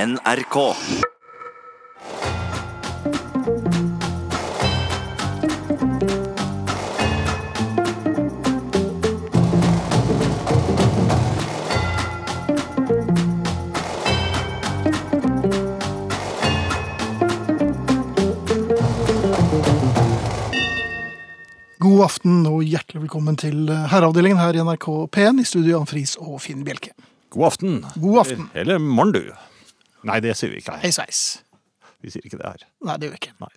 NRK. God aften og hjertelig velkommen til eh, herreavdelingen her i NRK P1 i studio Jan Friis og Finn Bjelke. God aften. God aften. Eller morgen, du. Nei, det sier vi ikke Hei her. sveis. Vi sier ikke det her. Nei, det gjør vi ikke. Nei.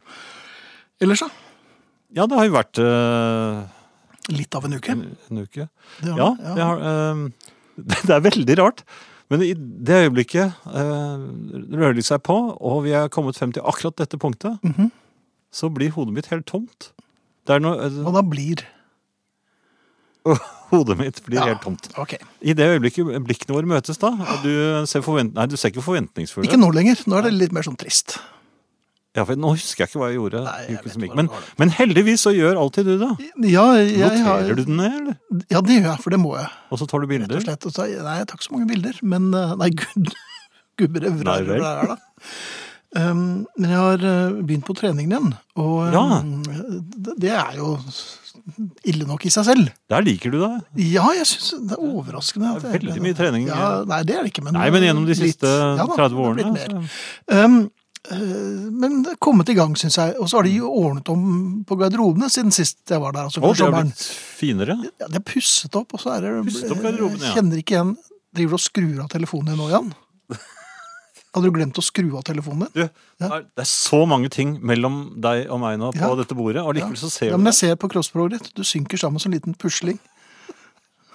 Ellers, da? Ja, det har jo vært eh, Litt av en uke. en uke. Det har- Mm. Ja, ja. det, har, eh, det er veldig rart. Men i det øyeblikket eh, rører de seg på, og vi er kommet frem til akkurat dette punktet, Mhm. så blir hodet mitt helt tomt. Det er noe, eh, Og da blir hodet mitt blir Ja. helt tomt. Ok. I det øyeblikket blikkene våre møtes, da og Du ser, forvent, nei, du ser ikke forventningsfulle Ikke nå lenger. Nå er det litt mer sånn trist. Ja, for Nå husker jeg ikke hva jeg gjorde. Nei, jeg i uken vet som gikk. hvordan men, det var. men heldigvis så gjør alltid du det. Ja, jeg, Noterer har- du den ned, eller? ja, det gjør jeg, for det må jeg. Og så tar du Rett og bilder? slett. Og så, nei, jeg tar ikke så mange bilder, men eh, Nei, gud. Gubber Nei evrer vel. det er, da. Um, men jeg har eh, begynt på treningen igjen, og Ja. um, det- det er jo ille nok i seg selv. Der liker du det. Ja, jeg syns det er overraskende. at Det er veldig jeg- mye trening. Ja, nei, det er det ikke. Men, eh, Nei, men gjennom de litt. siste Ja da, 30 det årene. har blitt mer. Um, eh, men det er kommet i gang, syns jeg. Og så har de jo ordnet om på garderobene siden sist jeg var der. altså for Og det har sommeren. blitt finere. Ja, de har pusset opp, og så er det Pusset opp garderobene, ja. Jeg Kjenner ikke igjen Driver du og skrur av telefonen din nå, Jan? Hadde du glemt å skru av telefonen din? Du, det er- det er så mange ting mellom deg og meg nå på Ja. dette bordet, og likevel så ser Ja, du men jeg det. ser på kroppsspråket ditt. Du synker sammen som en liten pusling.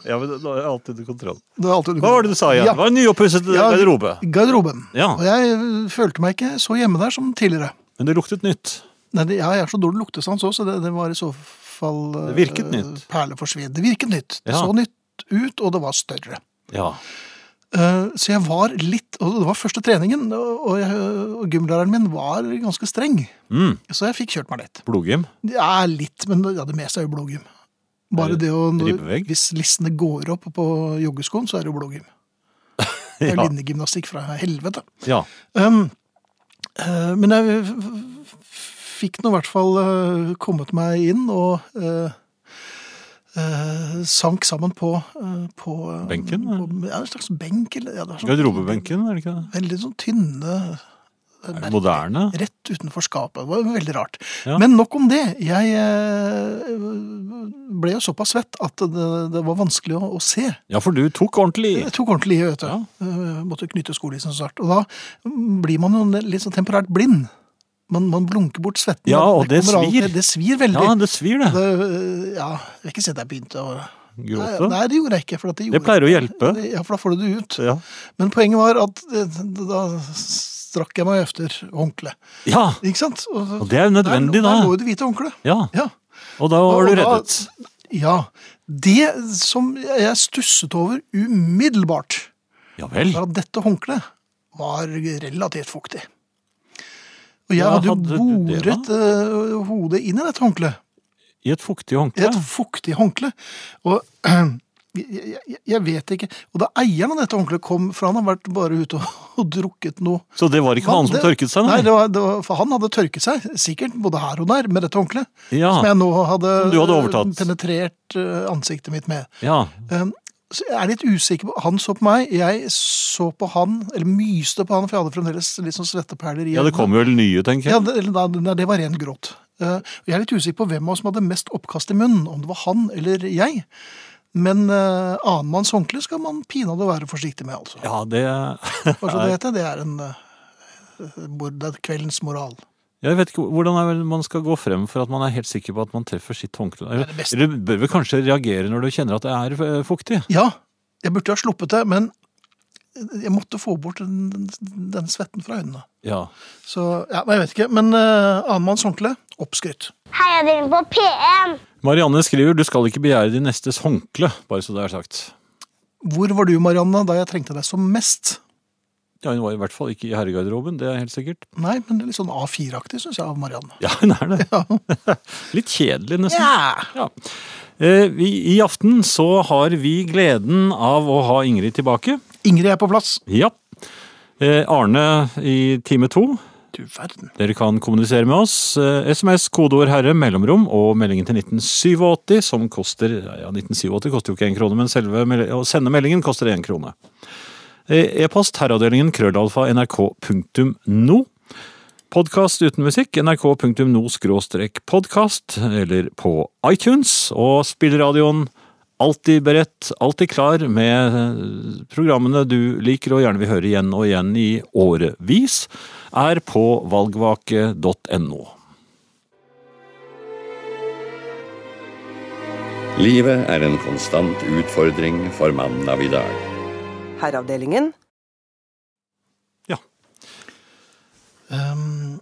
Ja, men da er jeg alltid under kontroll. Det er alltid- Hva var det du sa igjen? Ja. Det var en nyoppusset Ja, garderobe. Garderoben. Ja. Og jeg øh, følte meg ikke så hjemme der som tidligere. Men det luktet nytt. Nei, det, ja, jeg er så dårlig luktesans òg, så det, det var i så fall øh, Det virket nytt. Perleforsvidd. Det virket nytt. Det Ja. så nytt ut, og det var større. Ja. Eh, så jeg var litt Og det var første treningen, og, og, jeg, og gymlæreren min var ganske streng. Mm. Så jeg fikk kjørt meg litt. Blodgym. Ja, litt, men ja, det meste er jo blodgym. Bare Er det det å når, ribbevegg? Hvis lissene går opp på joggeskoen, så er det jo blodgym. Det er Ja. linnegymnastikk fra helvete. ja. Um, eh, men jeg f- f- fikk nå i hvert fall eh, kommet meg inn og eh, eh, sank sammen på, eh, på eh, Benken, På, ja, en slags benk. Eller, ja, det var sånn- Garderobebenken, er det ikke det? Veldig sånn tynne eh, Er det merker. moderne? Rett utenfor skapet. Det var veldig rart. Ja. Men nok om det. Jeg eh, ble jo såpass svett at det, det var vanskelig å, å se. Ja, for du tok ordentlig i. Jeg tok ordentlig i, vet du. Ja. Eh, Måtte knytte skolisen så snart. Og da mm, blir man jo litt sånn temporært blind. Man, man blunker bort svetten. Ja, og det kommer av til. svir. Det svir veldig. Ja, det svir, det. det, eh, ja, jeg vil ikke si at jeg begynte å Nei, Gråte. nei, det gjorde jeg ikke. For at det, gjorde, Det pleier å hjelpe. Ja, for da får du det ut. Ja. Men poenget var at eh, da strakk jeg meg efter håndkle. ja. Ikke sant? Og det er jo nødvendig, Der, der da. lå jo det hvite håndkleet. Ja. Ja. Og da var du Og da- reddet. ja. Det som jeg stusset over umiddelbart, Ja vel. var at dette håndkleet var relativt fuktig. Og jeg Ja, hadde jo hadde du det, boret eh, hodet inn i dette håndkleet. I et fuktig I håndkle? et fuktig håndkle. Og jeg, jeg, jeg vet ikke Og da eieren av dette håndkleet kom fra, han har vært bare ute og, og drukket noe Så det var ikke Hva? han som Det- tørket seg, Nei, nei? det var, det var, for han hadde tørket seg, sikkert, både her og der, med dette håndkleet. ja. Som jeg nå hadde, Ah. Som du hadde overtatt. penetrert eh, ansiktet mitt med. ja. Um, så jeg er litt usikker på Han så på meg, jeg så på han, eller myste på han, for jeg hadde fremdeles litt sånn svetteperler i ja, det kom vel nye, tenker jeg. Ja, det, eller da- nei, det var ren gråt. Eh, og jeg er litt usikker på hvem av oss som hadde mest oppkast i munnen, om det var han eller jeg. Men uh, annenmanns håndkle skal man pinadø være forsiktig med, altså. Ja, det Hva så det heter? Det er en eh, mor- det er kveldens moral. Jeg vet ikke hvordan er vel man skal gå frem for at man er helt sikker på at man treffer sitt håndkle. er det Eller, beste. eller bør vel kanskje reagere når du kjenner at det er eh, fuktig? Ja, jeg burde jo ha sluppet det, men jeg måtte få bort den, den, den svetten fra øynene. Ja. Så, ja, men jeg vet ikke. Men uh, annenmanns håndkle, oppskrytt. Heiadelen på P1. Marianne skriver 'Du skal ikke begjære din nestes håndkle', bare så det er sagt. Hvor var du, Marianne, da jeg trengte deg som mest? Ja, Hun var i hvert fall ikke i herregarderoben, det er helt sikkert. Nei, men det er litt sånn A4-aktig, syns jeg, av Marianne. Ja, hun er det. Litt kjedelig, nesten. Ja. Ja. Eh, vi, I aften så har vi gleden av å ha Ingrid tilbake. Ingrid er på plass. Ja. Eh, Eh, Arne i time to. Du verden. Dere kan kommunisere med oss. Eh, SMS, kodeord 'herre', mellomrom og meldingen til 1987 som koster Ja, 1987 koster jo ikke én krone, men selve mel- å sende meldingen koster én krone. Eh, E-post herreavdelingen krøllalfa nrk.no. Podkast uten musikk nrk.no-podkast eller på iTunes. Og spilleradioen alltid beredt, alltid klar med eh, programmene du liker og gjerne vil høre igjen og igjen i årevis, er på valgvake.no. Livet er en konstant utfordring for mannen av i dag. Herreavdelingen. Ehm,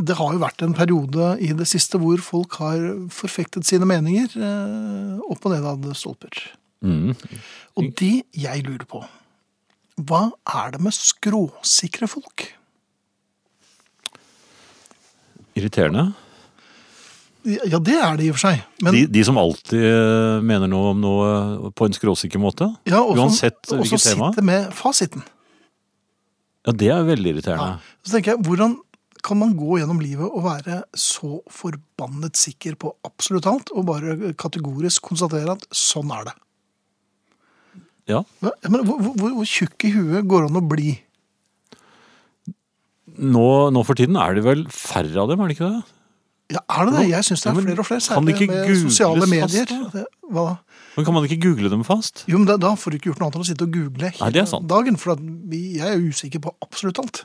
det har jo vært en periode i det siste hvor folk har forfektet sine meninger eh, opp og ned av stolper. Mm. Og det jeg lurer på Hva er det med skråsikre folk? Irriterende. Ja, det er det i og for seg. Men, de, de som alltid eh, mener noe om noe eh, på en skråsikker måte. ja, og som- uansett og som hvilket tema. sitter med fasiten. Ja, det er veldig irriterende. Så tenker jeg, hvordan kan man gå gjennom livet og være så forbannet sikker på absolutt alt, og bare kategorisk konstatere at sånn er det? Ja. Hva- ja, Men hvor, hvor, hvor tjukk i huet går det an å bli? Nå, nå for tiden er det vel færre av dem, er det ikke det? Ja, er det det? Jeg syns det Ja, er men flere og flere, kan det særlig ikke med googles sosiale fast, medier. da? Det, hva da? Men Kan man ikke google dem fast? Jo, men da, da får du ikke gjort noe annet enn å sitte og google Nei, det er sant. dagen, for at vi, jeg er usikker på absolutt alt.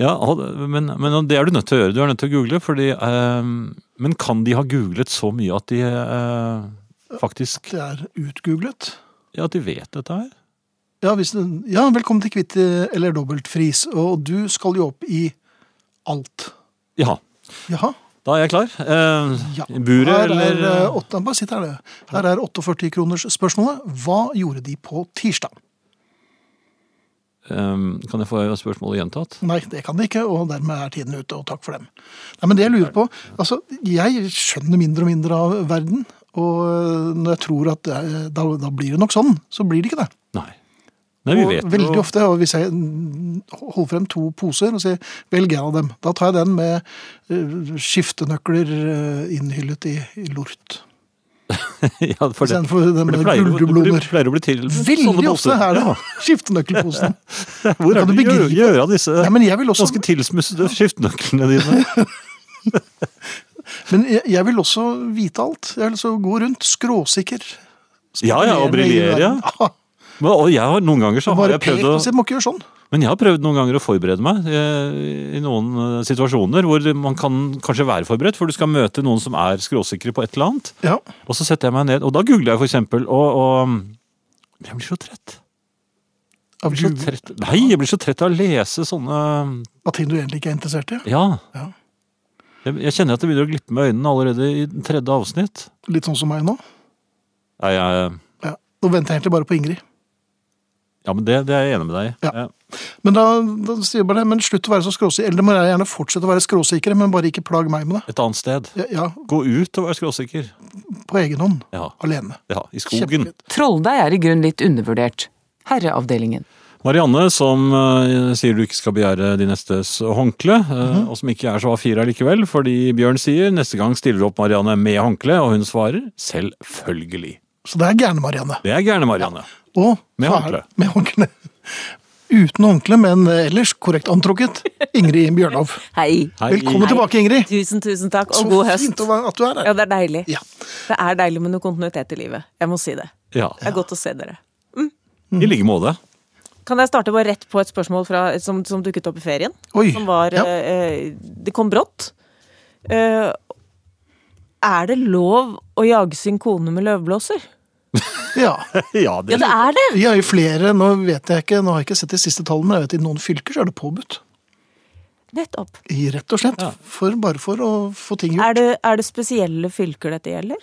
Ja, og- men, men det er du nødt til å gjøre. Du er nødt til å google, fordi eh, Men kan de ha googlet så mye at de eh, faktisk Det er utgooglet. Ja, at de vet dette her? Ja, hvis, du- ja velkommen til kvitt eh, eller dobbeltfris. Og du skal jo opp i alt. Ja. Jaha. Da er jeg klar. Eh, Ja. i Buret her er, eller eh, åtte- Bare sitt her, det. Her er 48-kronersspørsmålet. Hva gjorde de på tirsdag? eh, Kan jeg få spørsmålet gjentatt? Nei, det kan de ikke, og dermed er tiden ute, og takk for dem. Nei, men det jeg lurer på, altså, jeg skjønner mindre og mindre av verden, og øh, når jeg tror at det er, da, da blir det nok sånn, så blir det ikke det. Nei. Nei, vi vet og veldig jo ofte, og hvis jeg mm, holder frem to poser og sier, velg en av dem, da tar jeg den med øh, skiftenøkler øh, innhyllet i, i lort. ja, for det, Istedenfor den for det med pleier, jo- det gullblommer. pleier å bli til Veldig ofte er det Ja, skiftenøkkelposen. Hvor Kan er du det gjør, begripe? gjør av disse Nei, men jeg vil også... ganske tilsmussede skiftenøklene dine? Men jeg, jeg vil også vite alt. Jeg vil også gå rundt skråsikker. Ja, ja, og briljere, ja. Men, og jeg har noen ganger så Og har bare jeg pek prøvd og å si, må ikke gjøre sånn. Men jeg har prøvd noen ganger å forberede meg eh, i noen eh, situasjoner hvor man kan kanskje være forberedt, for du skal møte noen som er skråsikre på et eller annet. Ja, Og så setter jeg meg ned, og da googler jeg for eksempel, og, og jeg blir så trett. Av Jeg blir så Google. trett. Nei, jeg blir så trett av å lese sånne Av ting du egentlig ikke er interessert i. Ja. Ja. Jeg, jeg kjenner at det begynner å glippe med øynene allerede i den tredje avsnitt. Litt sånn som meg nå. Nei, jeg, Ja. Nå venter jeg egentlig bare på Ingrid. ja, men det, det er jeg enig med deg i. Ja. Jeg- Men da, da sier jeg bare det, men slutt å være så skråsikker. Eller det må jeg gjerne fortsette å være skråsikker, men bare ikke plag meg med det. Et annet sted. Ja, ja Gå ut og vær skråsikker. på egen hånd. Ja, Alene. ja, i skogen. Kjempefint. Trolldeig er i grunn litt undervurdert. Herreavdelingen. Marianne, som eh, sier du ikke skal begjære de nestes håndkle, eh, og som ikke er så A4 likevel, fordi Bjørn sier neste gang stiller opp Marianne med håndkle, og hun svarer selvfølgelig. Så det er gærne, Marianne. Det er gærne, Marianne. Og, Med så er- håndkle. Med håndkle. Uten håndkle, men ellers korrekt antrukket. Ingrid Bjørnov. Hei. Hei. Velkommen tilbake, Ingrid. Tusen, tusen takk, og Så god høst. fint å være- at du er her. Ja, det er deilig. Ja. Det er deilig med noe kontinuitet i livet. Jeg må si det. Ja, Det er godt å se dere. i like måte. Kan jeg starte bare rett på et spørsmål fra, som, som dukket opp i ferien? Oi, Som var ja. eh, Det kom brått. Eh, er det lov å jage sin kone med løvblåser? Ja. Ja, Ja, det, det er det! Vi har jo flere, nå vet jeg ikke, nå har jeg ikke sett de siste tallene, men jeg vet i noen fylker så er det påbudt. Nettopp. I rett og slett, for, bare for å få ting Er gjort. det, er det spesielle fylker dette gjelder?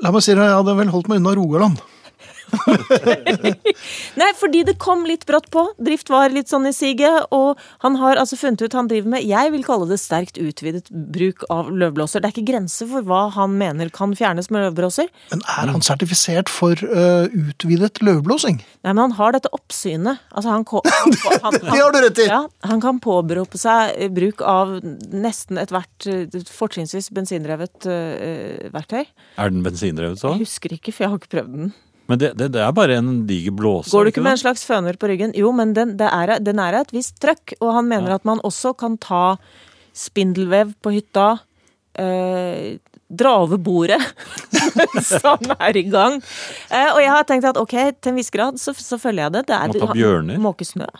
La meg si det, jeg hadde vel holdt meg unna Rogaland. Nei, fordi det kom litt brått på. Drift var litt sånn i siget, og han har altså funnet ut han driver med Jeg vil kalle det sterkt utvidet bruk av løvblåser. Det er ikke grenser for hva han mener kan fjernes med løvblåser. Men er han sertifisert for eh, utvidet løvblåsing? Nei, men han har dette oppsynet. Altså, han, ko- han, han, han, Det har du rett i. Ja, han kan påberope seg eh, bruk av nesten ethvert eh, fortrinnsvis bensindrevet eh, eh, verktøy. Er den bensindrevet så? Jeg husker ikke, for jeg har ikke prøvd den. Men det, det, det er bare en diger blåse. Går du ikke det? med en slags føner på ryggen? Jo, men den, det er, den er et visst trøkk, og han mener at man også kan ta spindelvev på hytta, eh, dra over bordet som er i gang. Eh, og jeg har tenkt at ok, til en viss grad så, så følger jeg det. Det Må er ta bjørner. måkesnø.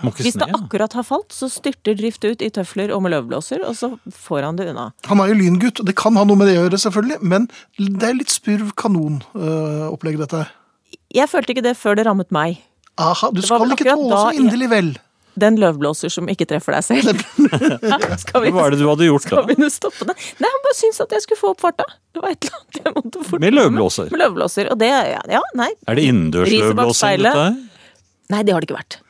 Måke Hvis det sne, ja. akkurat har falt, så styrter Drift ut i tøfler og med løvblåser, og så får han det unna. Han er jo lyngutt, og det kan ha noe med det å gjøre, selvfølgelig, men det er litt spurv kanon-opplegg, dette her. Jeg følte ikke det før det rammet meg. Aha, du var skal vel ikke akkurat tåle da så jeg- inderlig vel. Den løvblåser som ikke treffer deg selv. skal vi, Hva er det du hadde gjort skal da? vi nå stoppe det? Nei, han bare syntes at jeg skulle få opp farta. Det var et eller annet jeg måtte fort Med løvblåser. Med løvblåser. Og det ja, ja, nei. Er det innendørs Riset bak løvblåsing, speilet. dette her? Nei, det har det ikke vært.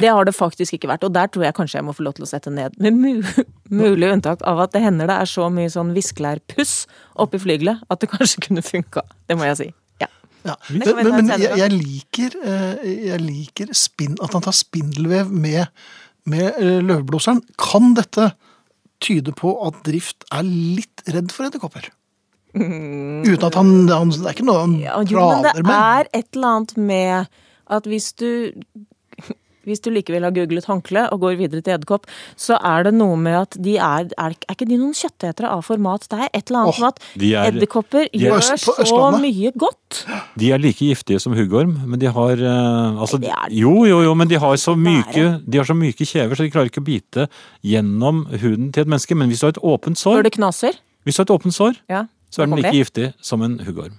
Det har det faktisk ikke vært, og der tror jeg kanskje jeg må få lov til å sette ned. Med mu mulig unntak av at det hender det er så mye sånn viskelærpuss oppi flygelet at det kanskje kunne funka. Det må jeg si. Ja. Ja. Det Men, kan vi ta men, men jeg, senere. jeg liker, eh, jeg liker spinn, at han tar spindelvev med, med eh, løvblåseren. Kan dette tyde på at Drift er litt redd for edderkopper? Uten at han, han Det er ikke noe han Mm. Ja, jo, men det prater med. er et eller annet med at hvis du hvis du likevel har googlet håndkle og går videre til edderkopp, så er det noe med at de er Er, er ikke de noen kjøttetere av format? Det er et eller annet Åh, med at de er- edderkopper er gjør øst- på så Østlandet. mye godt. De er like giftige som huggorm, men de har eh, altså, det er de Jo, jo, jo, men de har, så myke, være. de har så myke kjever, så de klarer ikke å bite gjennom huden til et menneske. Men hvis du har et åpent Når sår, det knaser. hvis du har et åpent sår Ja. så er den Kommer like det? giftig som en huggorm.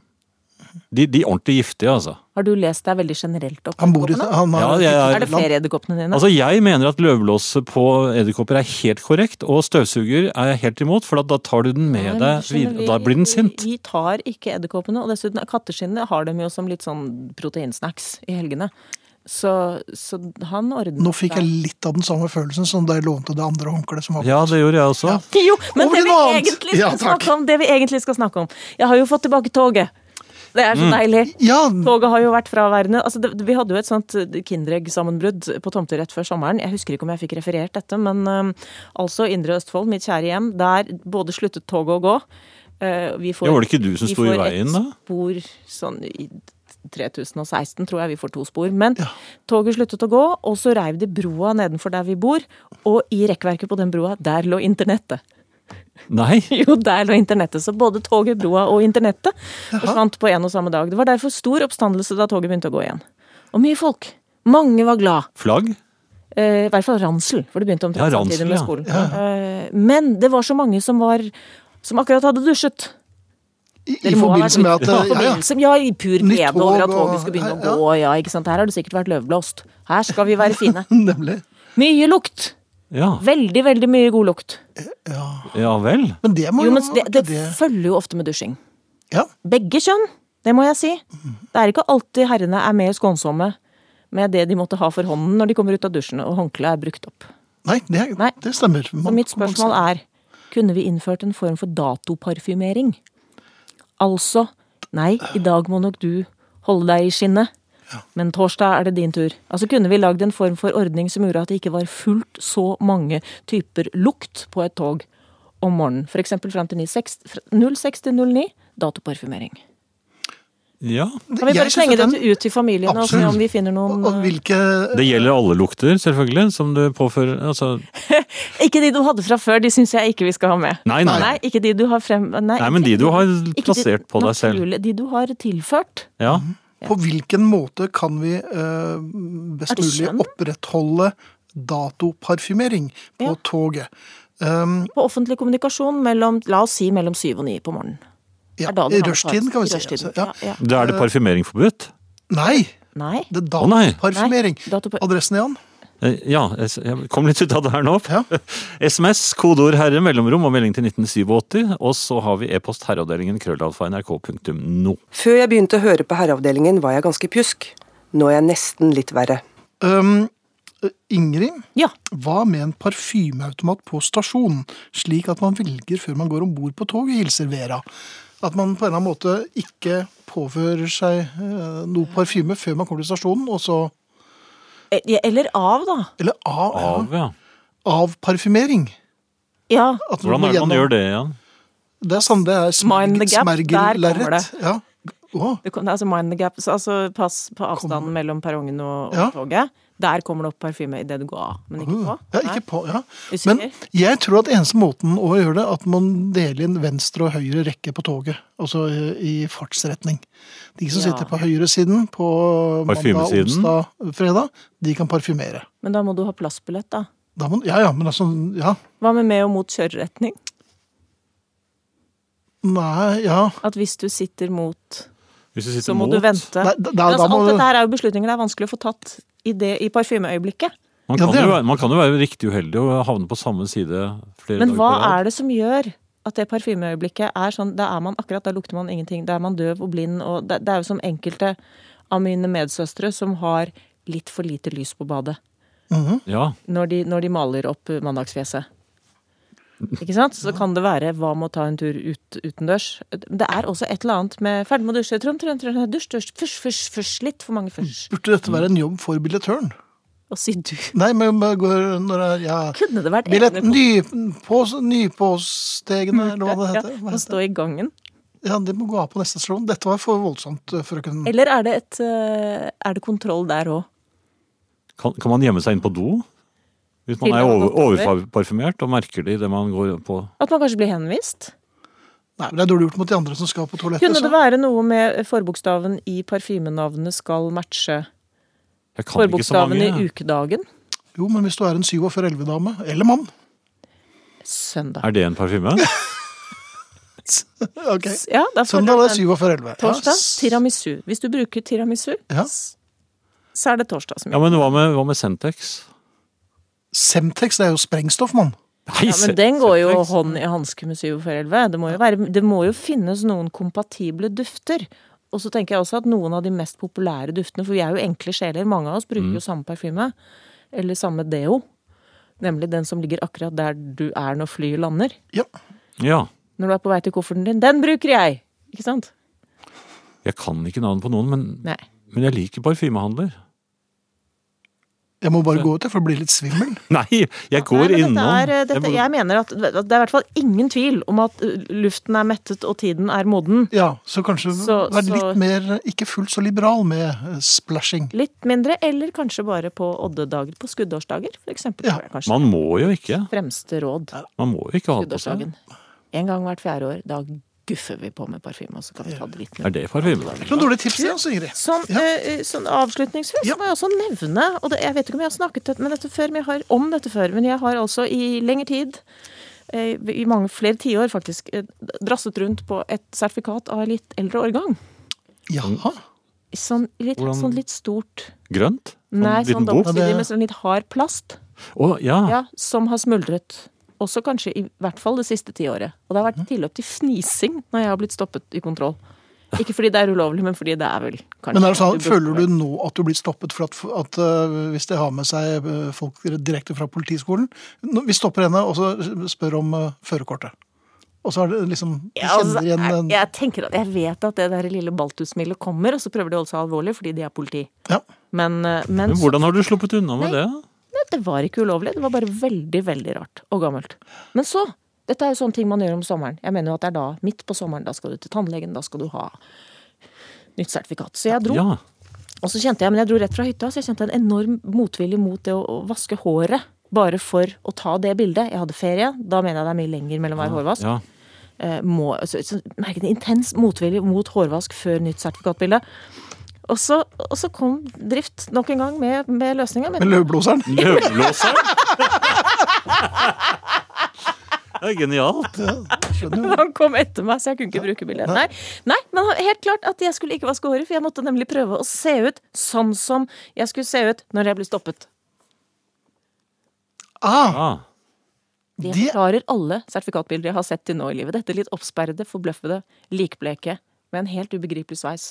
De, de er ordentlig giftige, altså. Har du lest deg veldig generelt opp? Han bor i edderkoppene? han har- Ja, jeg Er det flere edderkoppene dine? Altså, Jeg mener at løvblåse på edderkopper er helt korrekt, og støvsuger er jeg helt imot, for da- da tar du den Nei, med men deg skjønner videre. og vi- Da blir den sint. Vi tar ikke edderkoppene, og dessuten katteskinnet har dem jo som litt sånn proteinsnacks i helgene. Så, så han ordner Nå fikk jeg litt av den samme følelsen som da jeg lånte det andre håndkleet som var Ja, det gjorde jeg også. Jo, men Over det til vi, noe annet. egentlig skal Ja, takk. snakke om, det vi egentlig skal snakke om Jeg har jo fått tilbake toget. Det er Mm. så deilig. Ja, Toget har jo vært fraværende. Altså, det, vi hadde jo et sånt eh, Kinderegg-sammenbrudd på tomter rett før sommeren. Jeg husker ikke om jeg fikk referert dette, men øhm, altså Indre Østfold, mitt kjære hjem, der både sluttet toget å gå øh, vi får, Ja, var det ikke du som vi sto i får et veien, da? spor sånn i 3016, tror jeg vi får to spor. Men toget sluttet å gå, og så reiv de broa nedenfor der vi bor. Og i rekkverket på den broa, der lå internettet. Nei, Jo, der lå internettet. Så både toget, broa og internettet forsvant på en og samme dag. Det var derfor stor oppstandelse da toget begynte å gå igjen. Og mye folk. Mange var glad. flagg? Eh, I hvert fall ransel, for det begynte omtrent Ja, samtidig ransel, med ja. skolen. Eh, men det var så mange som var som akkurat hadde dusjet. i, i Dere må ha vært forbindelse med at ute. eh, ja, ja. forbindelse, ja, i pur Nytt glede over tog at og- toget skulle begynne ja, å gå. Ja, ikke sant? Her har det sikkert vært løvblåst. Her skal vi være fine. Nemlig. Mye lukt. Ja, Veldig, veldig mye god lukt. ja vel. Men det må Jo, jo men det, det det- følger jo ofte med dusjing. Ja. begge kjønn, det må jeg si. Det er ikke alltid herrene er mer skånsomme med det de måtte ha for hånden når de kommer ut av dusjen og håndkleet er brukt opp. Nei, det, er- Nei. det stemmer. Så Man- mitt spørsmål er, kunne vi innført en form for datoparfymering? Altså, nei, i dag må nok du holde deg i skinnet, men torsdag er det din tur. Altså kunne vi lagd en form for ordning som gjorde at det ikke var fullt så mange typer lukt på et tog om morgenen. For eksempel frem til 06 fra 06 til 09, datoparfymering. Ja. Kan vi Jeg bare synes slenge at den- dette ut til familien og se Absolutt. om eh, vi finner noen Og hvilke Det gjelder alle lukter, selvfølgelig, som du påfører altså, eh, Ikke de du hadde fra før, de syns jeg ikke vi skal ha med. Nei, nei. Nei, ikke de du har frem... Nei, Nei, men de du har ikke de- plassert på deg selv. naturlig- De du har tilført. Ja. På hvilken måte kan vi eh, best Er det mulig skjønn? opprettholde datoparfymering på Ja. toget? Um, På offentlig kommunikasjon mellom, la oss si, mellom syv og ni på morgenen. ja, Er da I den har rushtiden, ansvar. kan vi I si. rushtiden, Altså, ja. ja, ja. Da er det parfymering forbudt? Nei, Nei. det er Å, nei. datoparfymering. Nei, datopar- Adressen igjen? Eh, Ja, jeg s- jeg kom litt ut av det her nå. Ja. SMS, kodeord 'herre', mellomrom og melding til 1987. Og så har vi e-post herreavdelingen krøllalfa nrk.no. Før jeg begynte å høre på Herreavdelingen var jeg ganske pjusk. Nå er jeg nesten litt verre. Um, Ingrid, Ja. hva med en parfymeautomat på stasjon, slik at man velger før man går om bord på toget, hilser Vera. At man på en eller annen måte ikke påfører seg eh, noe parfyme før man kommer til stasjonen, og så Eh, Eller av, da. Eller av, Av, ja. avparfymering. Ja. At Hvordan må er det man gjennom- gjør det igjen? Det er sånn det er Mind the smerg- gap, der kommer smergellerret. det. Ja. Å, Det kom, altså mind the gap, så, altså pass på avstanden mellom perrongen og, og Ja. toget. Der kommer det opp parfyme idet du går av, men ikke på. ja, ikke på, ja. Usikker? Men jeg tror at eneste måten å gjøre det, at man deler inn venstre og høyre rekke på toget. Altså eh, i fartsretning. De som Ja. sitter på høyresiden på mandag, Parfymesiden? onsdag, fredag, de kan parfymere. Men da må du ha plassbillett, da. Da må, ja, ja, men altså Ja. Hva med med og mot kjøreretning? Nei, ja. At hvis du sitter mot, Hvis du sitter så må mot. du vente. Nei, da- da- Men altså, da må alt du- dette her er jo beslutninger det er vanskelig å få tatt i, det, i parfymeøyeblikket. Man Ja, kan, det er jo, det. være- man kan jo være riktig uheldig og havne på samme side flere Men dager hva på rad. er det som gjør at det parfymeøyeblikket er sånn Da er man akkurat, da lukter man ingenting. Da er man døv og blind, og det, det er jo som enkelte av mine medsøstre som har litt for lite lys på badet Ja, når de, når de maler opp eh, mandagsfjeset. Ikke sant? Så kan det være 'hva med å ta en tur ut, utendørs'? Det er også et eller annet med 'ferdig med å dusje', trom, trom, trom, dusj, dusj, fysj, fysj, fysj. Litt for mange fysj. Burde dette være en jobb for billettøren? Og si du. Nei, men jeg går når jeg ja. Kunne det vært Billett egne nypås- Nypåstegene, eller hva det Ja, heter. Hva Å heter det? stå i gangen. Ja, det må gå av på neste stasjon. Dette var for voldsomt, eh, frøken. Eller er det, et, eh, er det kontroll der òg? kan, kan man gjemme seg inn på do? Hvis man Til er man har over, gått over. overparfymert og merker det idet man går på At man kanskje blir henvist? Nei, men Det er dårlig gjort mot de andre som skal på toalettet. Kunne så- det være noe med forbokstaven i parfymenavnet skal matche Jeg kan ikke så forbokstaven i mange. ukedagen? Jo, men hvis du er en 47-11-dame, eller mann Søndag. Er det en parfyme? Ok. Ja, da får Søndag er du en 47-11. Torsdag tiramisu. Hvis du bruker tiramisu, Ja. så er det torsdag som Ja, gjør men hva med, hva med Sentex? Semtex, det er jo sprengstoff, mann. Nei, ja, men den går jo hånd i hanske med 7 for 11. Det må, jo være, det må jo finnes noen kompatible dufter. Og så tenker jeg også at noen av de mest populære duftene, for vi er jo enkle sjeler, mange av oss bruker jo samme parfyme, eller samme deo, nemlig den som ligger akkurat der du er når flyet lander. Ja. Ja. Når du er på vei til kofferten din, den bruker jeg! Ikke sant? Jeg kan ikke navn på noen, men, Nei. men jeg liker parfymehandler. Jeg må bare gå ut, jeg, for å bli litt svimmel. Nei, jeg går Nei, men innom. Dette er, eh, dette, jeg, jeg mener at at det er i hvert fall ingen tvil om at uh, luften er mettet og tiden er moden. Ja, Så kanskje Så- være så- litt mer ikke fullt så liberal med eh, splashing. Litt mindre, eller kanskje bare på oddedager, på skuddårsdager f.eks. Ja, Kanskje man må jo ikke. fremste råd Man må jo ikke ha det på seg. skuddårsdagen. En gang hvert fjerde år. Da guffer vi på med parfyme, og så kan vi ta det litt Er med. det parfyme? Ikke noen dårlige tips, det, altså, Ingrid. Sånn, Ja. eh, sånn avslutningsvis Ja. må jeg også nevne og det, Jeg vet ikke om jeg har snakket med dette før, men jeg har, om dette før, men jeg har altså i lengre tid, eh, i mange flere tiår faktisk, eh, drasset rundt på et sertifikat av litt eldre årgang. Jaha. Sånn litt, Hvordan- sånn litt stort Grønt? Sånn Nei, liten sånn bok? Ja, dobbeltsidig det- med sånn litt hard plast. Å, ja. ja, som har smuldret. Også kanskje i hvert fall det siste tiåret. Og det har vært tilløp til fnising når jeg har blitt stoppet i kontroll. Ikke fordi det er ulovlig, men fordi det er vel kanskje Men er det sånn, at burde- føler du nå at du blir stoppet for at, at eh, hvis de har med seg eh, folk direkte fra politiskolen nå- Vi stopper henne og så spør om eh, førerkortet. Og så er det liksom de Ja, altså, kjenner igjen eh, jeg, en- jeg tenker at jeg vet at det der lille baltussmilet kommer, og så prøver de å holde seg alvorlig fordi de er politi. ja. Men, eh, men, Men hvordan har du sluppet unna med det? Nei, det var ikke ulovlig. Det var bare veldig, veldig rart og gammelt. Men så Dette er jo sånne ting man gjør om sommeren. Jeg mener jo at det er da, midt på sommeren, da skal du til tannlegen, da skal du ha nytt sertifikat. Så jeg dro. Ja. Og så kjente jeg, men jeg dro rett fra hytta, så jeg kjente en enorm motvilje mot det å, å vaske håret. Bare for å ta det bildet. Jeg hadde ferie, da mener jeg det er mye lenger mellom hver hårvask. ja. Eh, må, så, så, merket en intens motvilje mot hårvask før nytt sertifikatbilde. Og så, og så kom Drift nok en gang med, med løsninga. Med løvblåseren. Løvblåseren! Det er genialt. Skjønner jo. Han kom etter meg, så jeg kunne ikke bruke bildet. Nei. Nei, men helt klart at jeg skulle ikke vaske håret, for jeg måtte nemlig prøve å se ut sånn som jeg skulle se ut når jeg ble stoppet. Ah, Ah, Det Det- forklarer alle sertifikatbilder jeg har sett til nå i livet. Dette litt oppsperrede, forbløffede, likbleke med en helt ubegripelig sveis.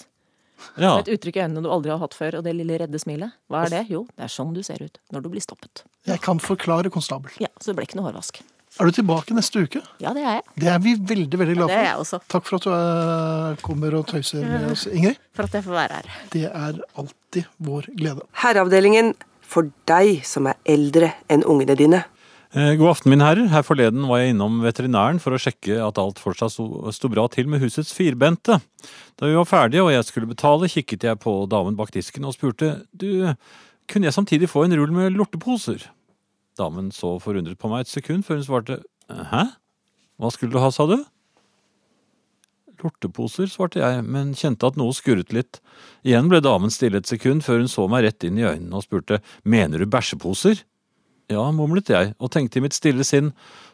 ja. Et uttrykk i øynene du aldri har hatt før, og det lille redde smilet. Hva er det? Jo, det er sånn du ser ut når du blir stoppet. jeg kan forklare, konstabel. Ja, Så det ble ikke noe hårvask. Er du tilbake neste uke? Ja, det er jeg. Det er vi veldig veldig glad det for. er jeg også. Takk for at du eh, kommer og tøyser med oss, Ingrid. For at jeg får være her. Det er alltid vår glede. Herreavdelingen for deg som er eldre enn ungene dine. Eh, God aften, mine herrer. Her forleden var jeg innom veterinæren for å sjekke at alt fortsatt sto, sto bra til med husets firbente. Da vi var ferdige og jeg skulle betale, kikket jeg på damen bak disken og spurte du, kunne jeg samtidig få en rull med lorteposer? Damen så forundret på meg et sekund før hun svarte hæ? Hva skulle du ha, sa du? Lorteposer, svarte jeg, men kjente at noe skurret litt. Igjen ble damen stille et sekund før hun så meg rett inn i øynene og spurte mener du bæsjeposer? Ja, mumlet jeg, og tenkte i mitt stille sinn,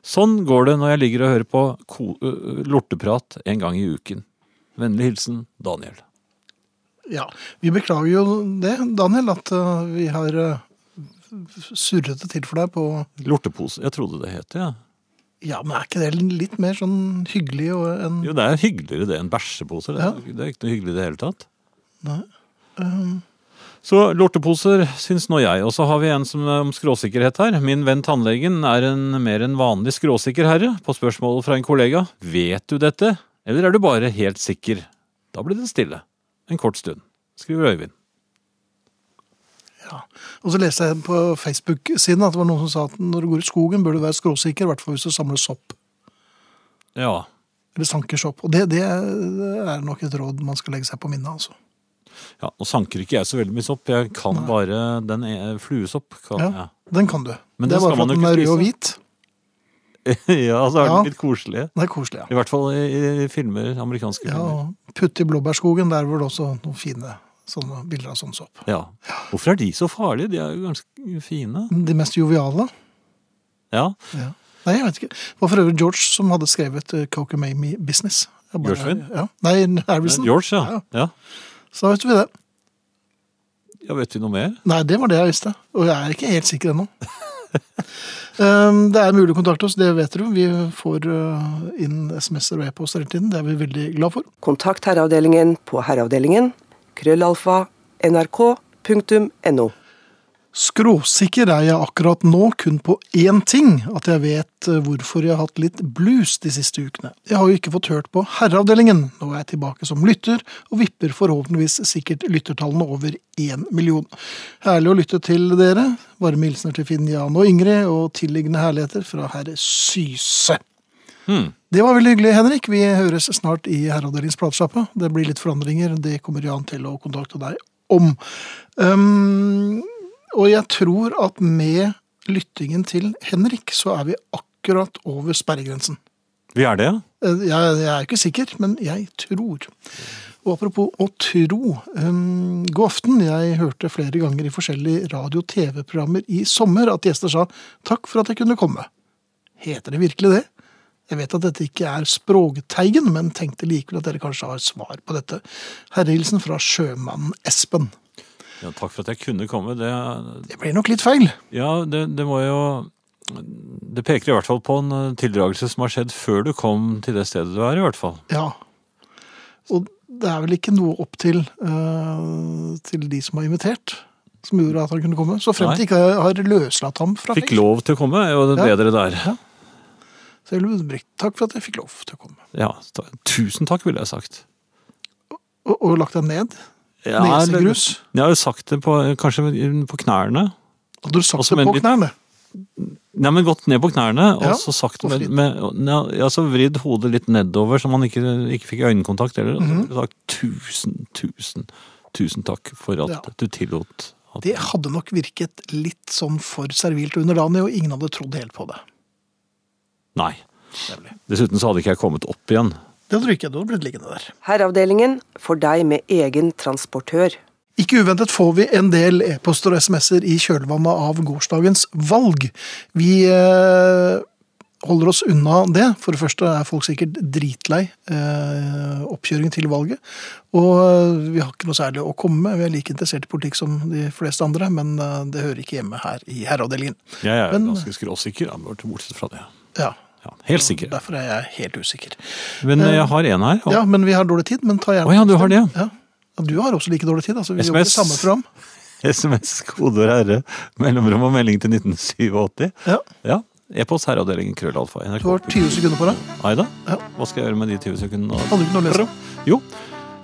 sånn går det når jeg ligger og hører på ko ø, ø, lorteprat en gang i uken. Vennlig hilsen Daniel. Ja, Vi beklager jo det, Daniel, at eh, vi har eh, surret det til for deg på Lortepose, jeg trodde det het det, ja. Ja, men er ikke det litt mer sånn hyggelig og en Jo, det er hyggeligere det enn bæsjeposer. Det, er- det er ikke noe hyggelig i det hele tatt. Nei. Um. Så lorteposer syns nå jeg, og så har vi en som er om skråsikkerhet her. Min venn tannlegen er en mer enn vanlig skråsikker herre. På spørsmål fra en kollega vet du dette, eller er du bare helt sikker? Da blir det stille. En kort stund, skriver Øyvind. Ja. Og så leste jeg på Facebook-siden at det var noen som sa at når du går i skogen, bør du være skråsikker, i hvert fall hvis du samler sopp. Ja, Eller sanker sopp. Og det, det er nok et råd man skal legge seg på minnet, altså. Ja, Nå sanker ikke jeg så veldig mye sopp. Jeg kan bare den e- fluesopp. Kan, Ja, ja. Den kan du. Men det den er bare skal man for at jo den er ikke rød og spise. hvit. ja, så er Ja. den litt koselig. Det er koselig, ja. I hvert fall i, i filmer, amerikanske ja filmer. og putt i blåbærskogen, der var det også noen fine sånne bilder av sånn sopp. Ja. Hvorfor er de så farlige? De er jo ganske fine. De mest joviale. Ja, Ja. Nei, jeg vet ikke. Det var for øvrig George som hadde skrevet eh, Cocamamie Business. Jeg bare- Gershwin? Ja. Nei, Harrison. George, ja. ja. Så da vet vi det. Ja, Vet vi noe mer? Nei, det var det jeg visste. Og jeg er ikke helt sikker ennå. um, det er mulig å kontakte oss, det vet du. Vi får uh, inn SMS-er og e-poster hele tiden. Det er vi veldig glad for. Kontakt Herreavdelingen på herreavdelingen. Krøllalfa nrk.no. Skråsikker er jeg akkurat nå kun på én ting, at jeg vet uh, hvorfor jeg har hatt litt blues de siste ukene. Jeg har jo ikke fått hørt på Herreavdelingen. Nå er jeg tilbake som lytter, og vipper forhåpentligvis sikkert lyttertallene over én million. Herlig å lytte til dere. Varme hilsener til Finn, Jan og Ingrid, og tilliggende herligheter fra herr Syse. Det var veldig hyggelig, Henrik. Vi høres snart i Herreavdelingens platesjappe. Det blir litt forandringer. Det kommer Jan til å kontakte deg om. Um, og jeg tror at med lyttingen til Henrik, så er vi akkurat over sperregrensen. Vi er det, ja. Eh, Jeg, jeg er ikke sikker, men jeg tror. Og apropos å tro. Um, god aften. Jeg hørte flere ganger i forskjellige radio- og TV-programmer i sommer at gjester sa 'takk for at jeg kunne komme'. Heter det virkelig det? Jeg vet at dette ikke er Språkteigen, men tenkte likevel at dere kanskje har svar på dette. Herrehilsen fra sjømannen Espen. ja. Takk for at jeg kunne komme. Det, Det ble nok litt feil. ja, det, det må jo Det peker i hvert fall på en eh, tildragelse som har skjedd før du kom til det stedet du er, i hvert fall. Ja. Og det er vel ikke noe opp til, eh, til de som har invitert, som gjorde at han kunne komme. Så frem til Nei. ikke jeg har løslatt ham fra Fikk lov til å komme, og det Ja. bedre der. Så jeg vil bruke- Takk for at jeg fikk lov til å komme. Ja, ta- tusen takk, ville jeg sagt. Og, og lagt deg ned. Ja, Nesegrus. eller- Jeg har jo sagt det på, kanskje på knærne. Hadde du sagt Også det med på litt- knærne? Nei, men gått ned på knærne, og Ja, så sagt og med, vridd. med ja, ja, så vridd hodet litt nedover, så man ikke, ikke fikk øyekontakt heller. Og Mhm. så sagt tusen, tusen, tusen takk for at Ja. du tillot at Det hadde nok virket litt sånn for servilt og underdanig, og ingen hadde trodd helt på det. Nei. Dessuten så hadde ikke jeg kommet opp igjen. Det hadde du ikke. Du hadde blitt liggende der. Herreavdelingen for deg med egen transportør. Ikke uventet får vi en del e-poster og SMS-er i kjølvannet av gårsdagens valg. Vi eh, holder oss unna det. For det første er folk sikkert dritlei eh, oppkjøringen til valget. Og eh, vi har ikke noe særlig å komme med. Vi er like interessert i politikk som de fleste andre, men eh, det hører ikke hjemme her i herreavdelingen. Jeg er Men- ganske skråsikker, ja, bort- bortsett fra det. Ja, Ja, helt sikker. Derfor er jeg helt usikker. Men eh, jeg har en her. og- Ja, men vi har dårlig tid, men ta gjerne Å ja, du har det, ja. Ja. Ja, Du har også like dårlig tid. altså Vi jobber SMS. samme program. SMS, kodeord herre, mellomrom og melding til 1987. Ja, Ja. E-post herreavdelingen krøllalfa Du har nrk. 20 sekunder på deg. Aida, Ja. hva skal jeg gjøre med de 20 sekundene? Hadde du ikke noe å lese? Jo.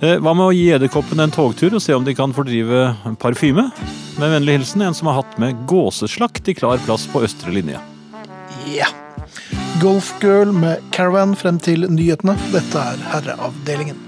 Eh, Hva med å gi edderkoppene en togtur og se om de kan fordrive parfyme? Med vennlig hilsen en som har hatt med gåseslakt i klar plass på østre linje. Ja. Golfgirl med Caravan frem til nyhetene. Dette er Herreavdelingen.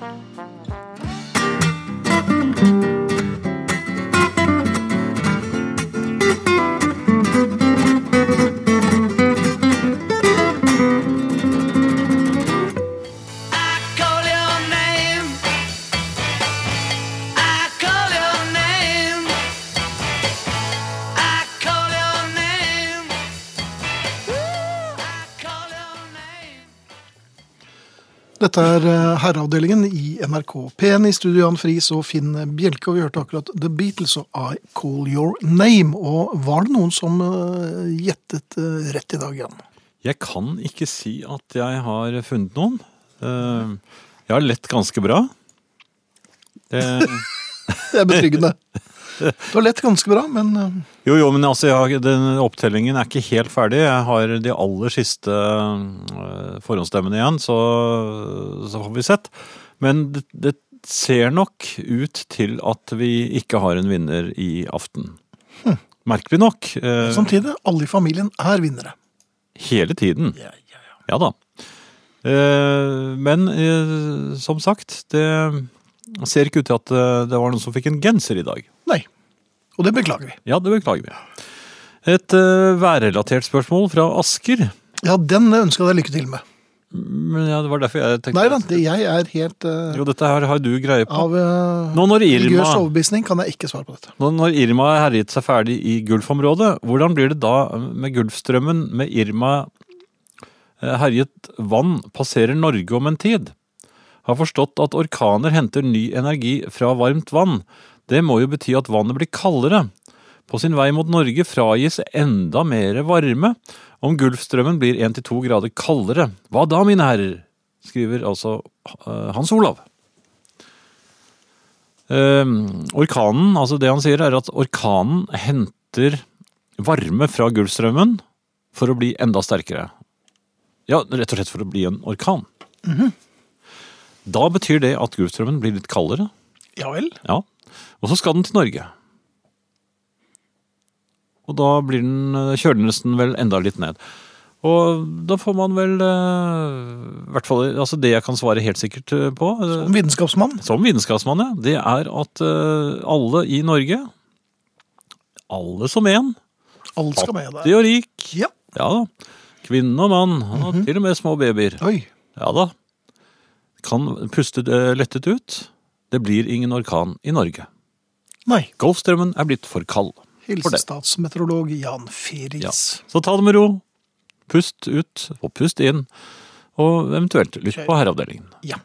Dette er eh, Herreavdelingen i NRK P1 i studio Jan Friis og Finn Bjelke. Og vi hørte akkurat The Beatles og I Call Your Name. Og var det noen som eh, gjettet eh, rett i dag, Jan? Jeg kan ikke si at jeg har funnet noen. Eh, Jeg har lett ganske bra. Eh, Det er betryggende. Du har lett ganske bra, men eh, Jo, jo, men altså, jeg har, den opptellingen er ikke helt ferdig. Jeg har de aller siste øh, forhåndsstemmene igjen, så, så har vi sett. Men det, det ser nok ut til at vi ikke har en vinner i aften. Merkelig nok. øh, samtidig, alle i familien er vinnere. hele tiden. Ja, Ja da. Eh, men eh, som sagt, det ser ikke ut til at eh, det var noen som fikk en genser i dag. Nei. Og det beklager vi. Ja, det beklager vi. Et eh, værrelatert spørsmål fra Asker. Ja, den ønska jeg deg lykke til med. Men ja, det var derfor jeg tenkte Nei da, det- jeg er helt eh, Jo, dette her har du greie på. Av eh, Nå når Irma- religiøs overbevisning kan jeg ikke svare på dette. Nå Når Irma har herjet seg ferdig i Gulfområdet, hvordan blir det da med Gulfstrømmen med Irma eh, herjet vann passerer Norge om en tid? Har forstått at orkaner henter ny energi fra varmt vann. Det må jo bety at vannet blir kaldere. På sin vei mot Norge fragis enda mer varme om Gulfstrømmen blir 1-2 grader kaldere. Hva da, mine herrer? skriver altså eh, Hans Olav. Eh, orkanen, altså det han sier er at orkanen henter varme fra Gulfstrømmen for å bli enda sterkere. Ja, rett og slett for å bli en orkan. Da betyr det at Gulfstrømmen blir litt kaldere. Ja vel? Ja. Og så skal den til Norge. Og da blir den, eh, kjøler den nesten vel enda litt ned. Og da får man vel eh, i hvert fall, altså Det jeg kan svare helt sikkert eh, på eh, Vitenskapsmann? som vitenskapsmann, ja, det er at eh, alle i Norge, alle som en, Alt skal med fattig deg. og rik, Ja. Mhm. ja da, kvinne og mann, og til og med små babyer, Oi. ja da, kan puste eh, lettet ut. Det blir ingen orkan i Norge. Nei. Golfstrømmen er blitt for kald. For Hilse det. statsmeteorolog Jan Ja. Feris. Så ta det med ro, pust ut og pust inn, og eventuelt lytt på herreavdelingen. Ja.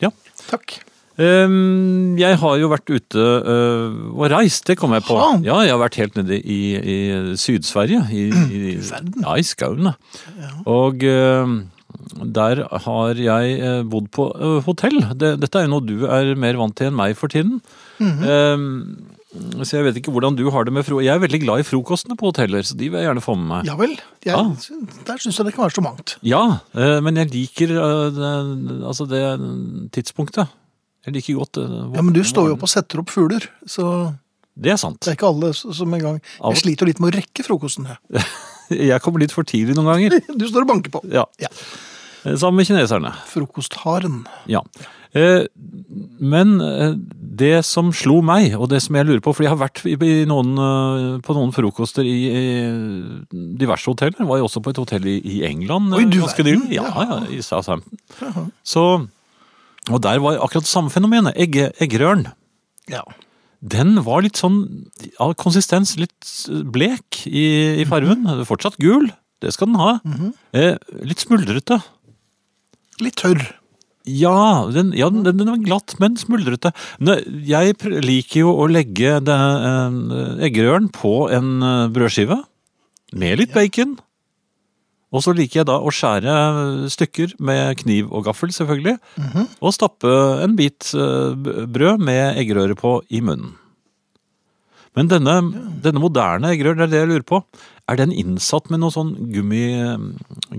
Ja. Takk. Ehm, jeg har jo vært ute øh, og reist, det kom jeg på. Jaha. Ja, jeg har vært helt nede i, i Syd-Sverige. I, i, ja, i skauen. da. Og øhm, der har jeg øh, bodd på øh, hotell. Det, dette er jo noe du er mer vant til enn meg for tiden. Mhm. Ehm, så jeg vet ikke hvordan du har det med fro... Jeg er veldig glad i frokostene på hoteller, så de vil jeg gjerne få med meg. Ja vel. Jeg, Ah. Der syns jeg det kan være så mangt. Ja, eh, men jeg liker eh, det- altså det tidspunktet. Jeg liker godt eh, hvor- Ja, Men du står jo opp og setter opp fugler, så Det er sant. det er ikke alle s- som en gang Av- Jeg sliter jo litt med å rekke frokosten. jeg. Jeg kommer litt for tidlig noen ganger. Du står og banker på. Ja. Ja. Eh, Sammen med kineserne. Frokostharen. Ja. Eh, Men eh, det som slo meg, og det som jeg lurer på For jeg har vært i i noen, eh, på noen frokoster i eh, diverse hoteller. Var jo også på et hotell i i England eh, Oi, du ganske verden. nylig. Ja, ja, i Southampton. Så, og der var akkurat det samme fenomenet. Egge, eggerøren. Ja. Den var litt sånn av konsistens, litt blek i, i fargen. Fortsatt gul, Det skal den ha. eh, litt smuldrete. Litt tørr. Ja, den, ja den, den var glatt, men smuldrete. Nå, Jeg pr- liker jo å legge det, eh, eggerøren på en eh, brødskive med litt bacon. Og så liker jeg da å skjære eh, stykker med kniv og gaffel, selvfølgelig. Og stappe en bit eh, b- brød med eggerøre på i munnen. Men denne, denne moderne eggerør, det er det jeg lurer på. Er den innsatt med noen sånn gummi,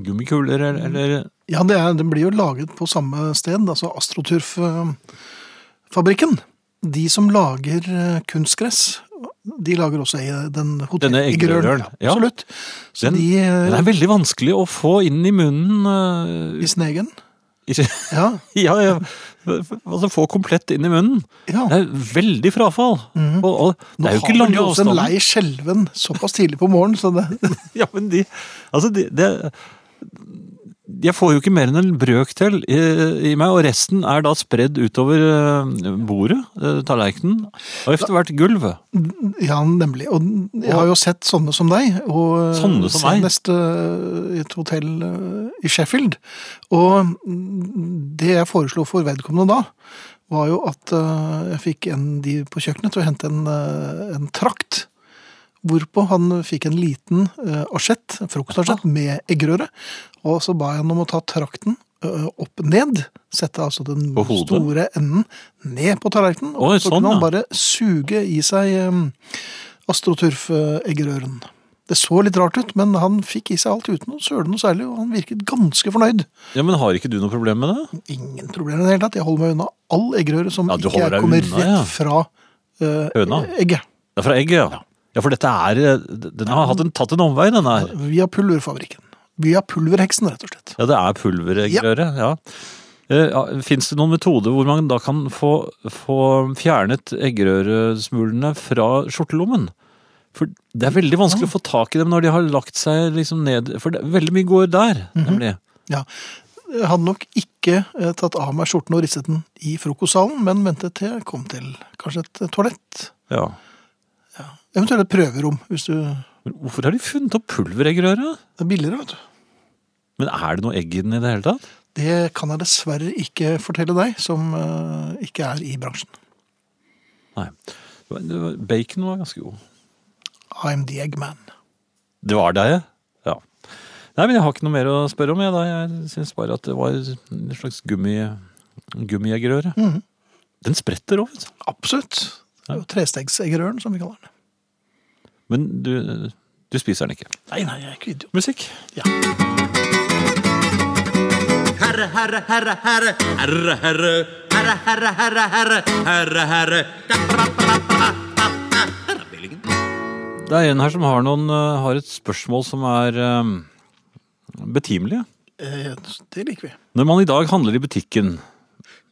gummikuler, eller, eller Ja, det er, den blir jo laget på samme sted, altså AstroTurf-fabrikken. De som lager eh, kunstgress, de lager også i den hotell... Denne i eggerøren, Grølen. ja. Absolutt. Så Den- de eh, Den er veldig vanskelig å få inn i munnen. eh, i sin egen. ikke, Ja, ja, ja, altså få komplett inn i munnen. ja. Mhm. Det er veldig frafall. og, og det Nå er har jo ikke vel de lange også en avstander. lei skjelven såpass tidlig på morgenen, så det, Ja, men de, altså de, det, jeg får jo ikke mer enn en brøkdel i, i meg, og resten er da spredd utover eh, bordet, eh, tallerkenen, og etter hvert gulvet. ja, nemlig. Og jeg har jo sett sånne som deg, og Sånne som meg? senest eh, i et hotell eh, i Sheffield. Og mm, det jeg foreslo for vedkommende da, var jo at eh, jeg fikk en de på kjøkkenet til å hente en, eh, en trakt. Hvorpå han fikk en liten uh, asjett, en frokostasjett, med eggerøre. Og så ba jeg han om å ta trakten eh, opp ned, sette altså den På hodet? store enden ned på tallerkenen. Og Oi, så sånn, kunne han ja. bare suge i seg um, astroturf-eggerøren. Det så litt rart ut, men han fikk i seg alt uten å søle noe særlig, og han virket ganske fornøyd. Ja, men har ikke du noe problem med det? Ingen problemer i det hele tatt. Jeg holder meg unna all eggerøre som Ja, du ikke holder deg kommer unna, rett ja. fra eh, Høna. egget. Det er fra egget, ja. Ja, for dette er eh, Den har hatt en, tatt en omvei, den her. Via pulverfabrikken. Via pulverheksen, rett og slett. Ja, det er pulvereggerøre, ja. Eh, ja. Fins det noen metode hvor man da kan få, få fjernet eggerøresmulene fra skjortelommen? For det er veldig vanskelig å få tak i dem når de har lagt seg liksom ned For det, veldig mye går der, nemlig. Ja. Jeg hadde nok ikke eh, tatt av meg skjorten og risset den i frokostsalen, men ventet til jeg kom til kanskje et toalett. Ja. Eventuelt et prøverom, hvis du Det Men hvorfor har de funnet opp pulvereggerøre? er billigere, vet du. Men er det noe egg i den i det hele tatt? Det kan jeg dessverre ikke fortelle deg, som eh, ikke er i bransjen. Nei. Det var- det var- Bacon var ganske god. I'm the eggman. Det var deg, ja. Nei, men jeg har ikke noe mer å spørre om. Jeg, da. jeg syns bare at det var en slags gummi, gummieggerøre. Den spretter òg, vet du. Absolutt. Det er jo Trestegseggerøren, som vi kaller den. Men du, du spiser den ikke. Nei, nei, jeg er ikke idiot. Musikk. Herre, herre, herre, herre, herre, herre, herre, herre, herre, herre, herre, herre. Herreavdelingen. Det er en her som har, noen, eh, har et spørsmål som er um, betimelig. Eh, Det liker vi. Når man i dag handler i butikken,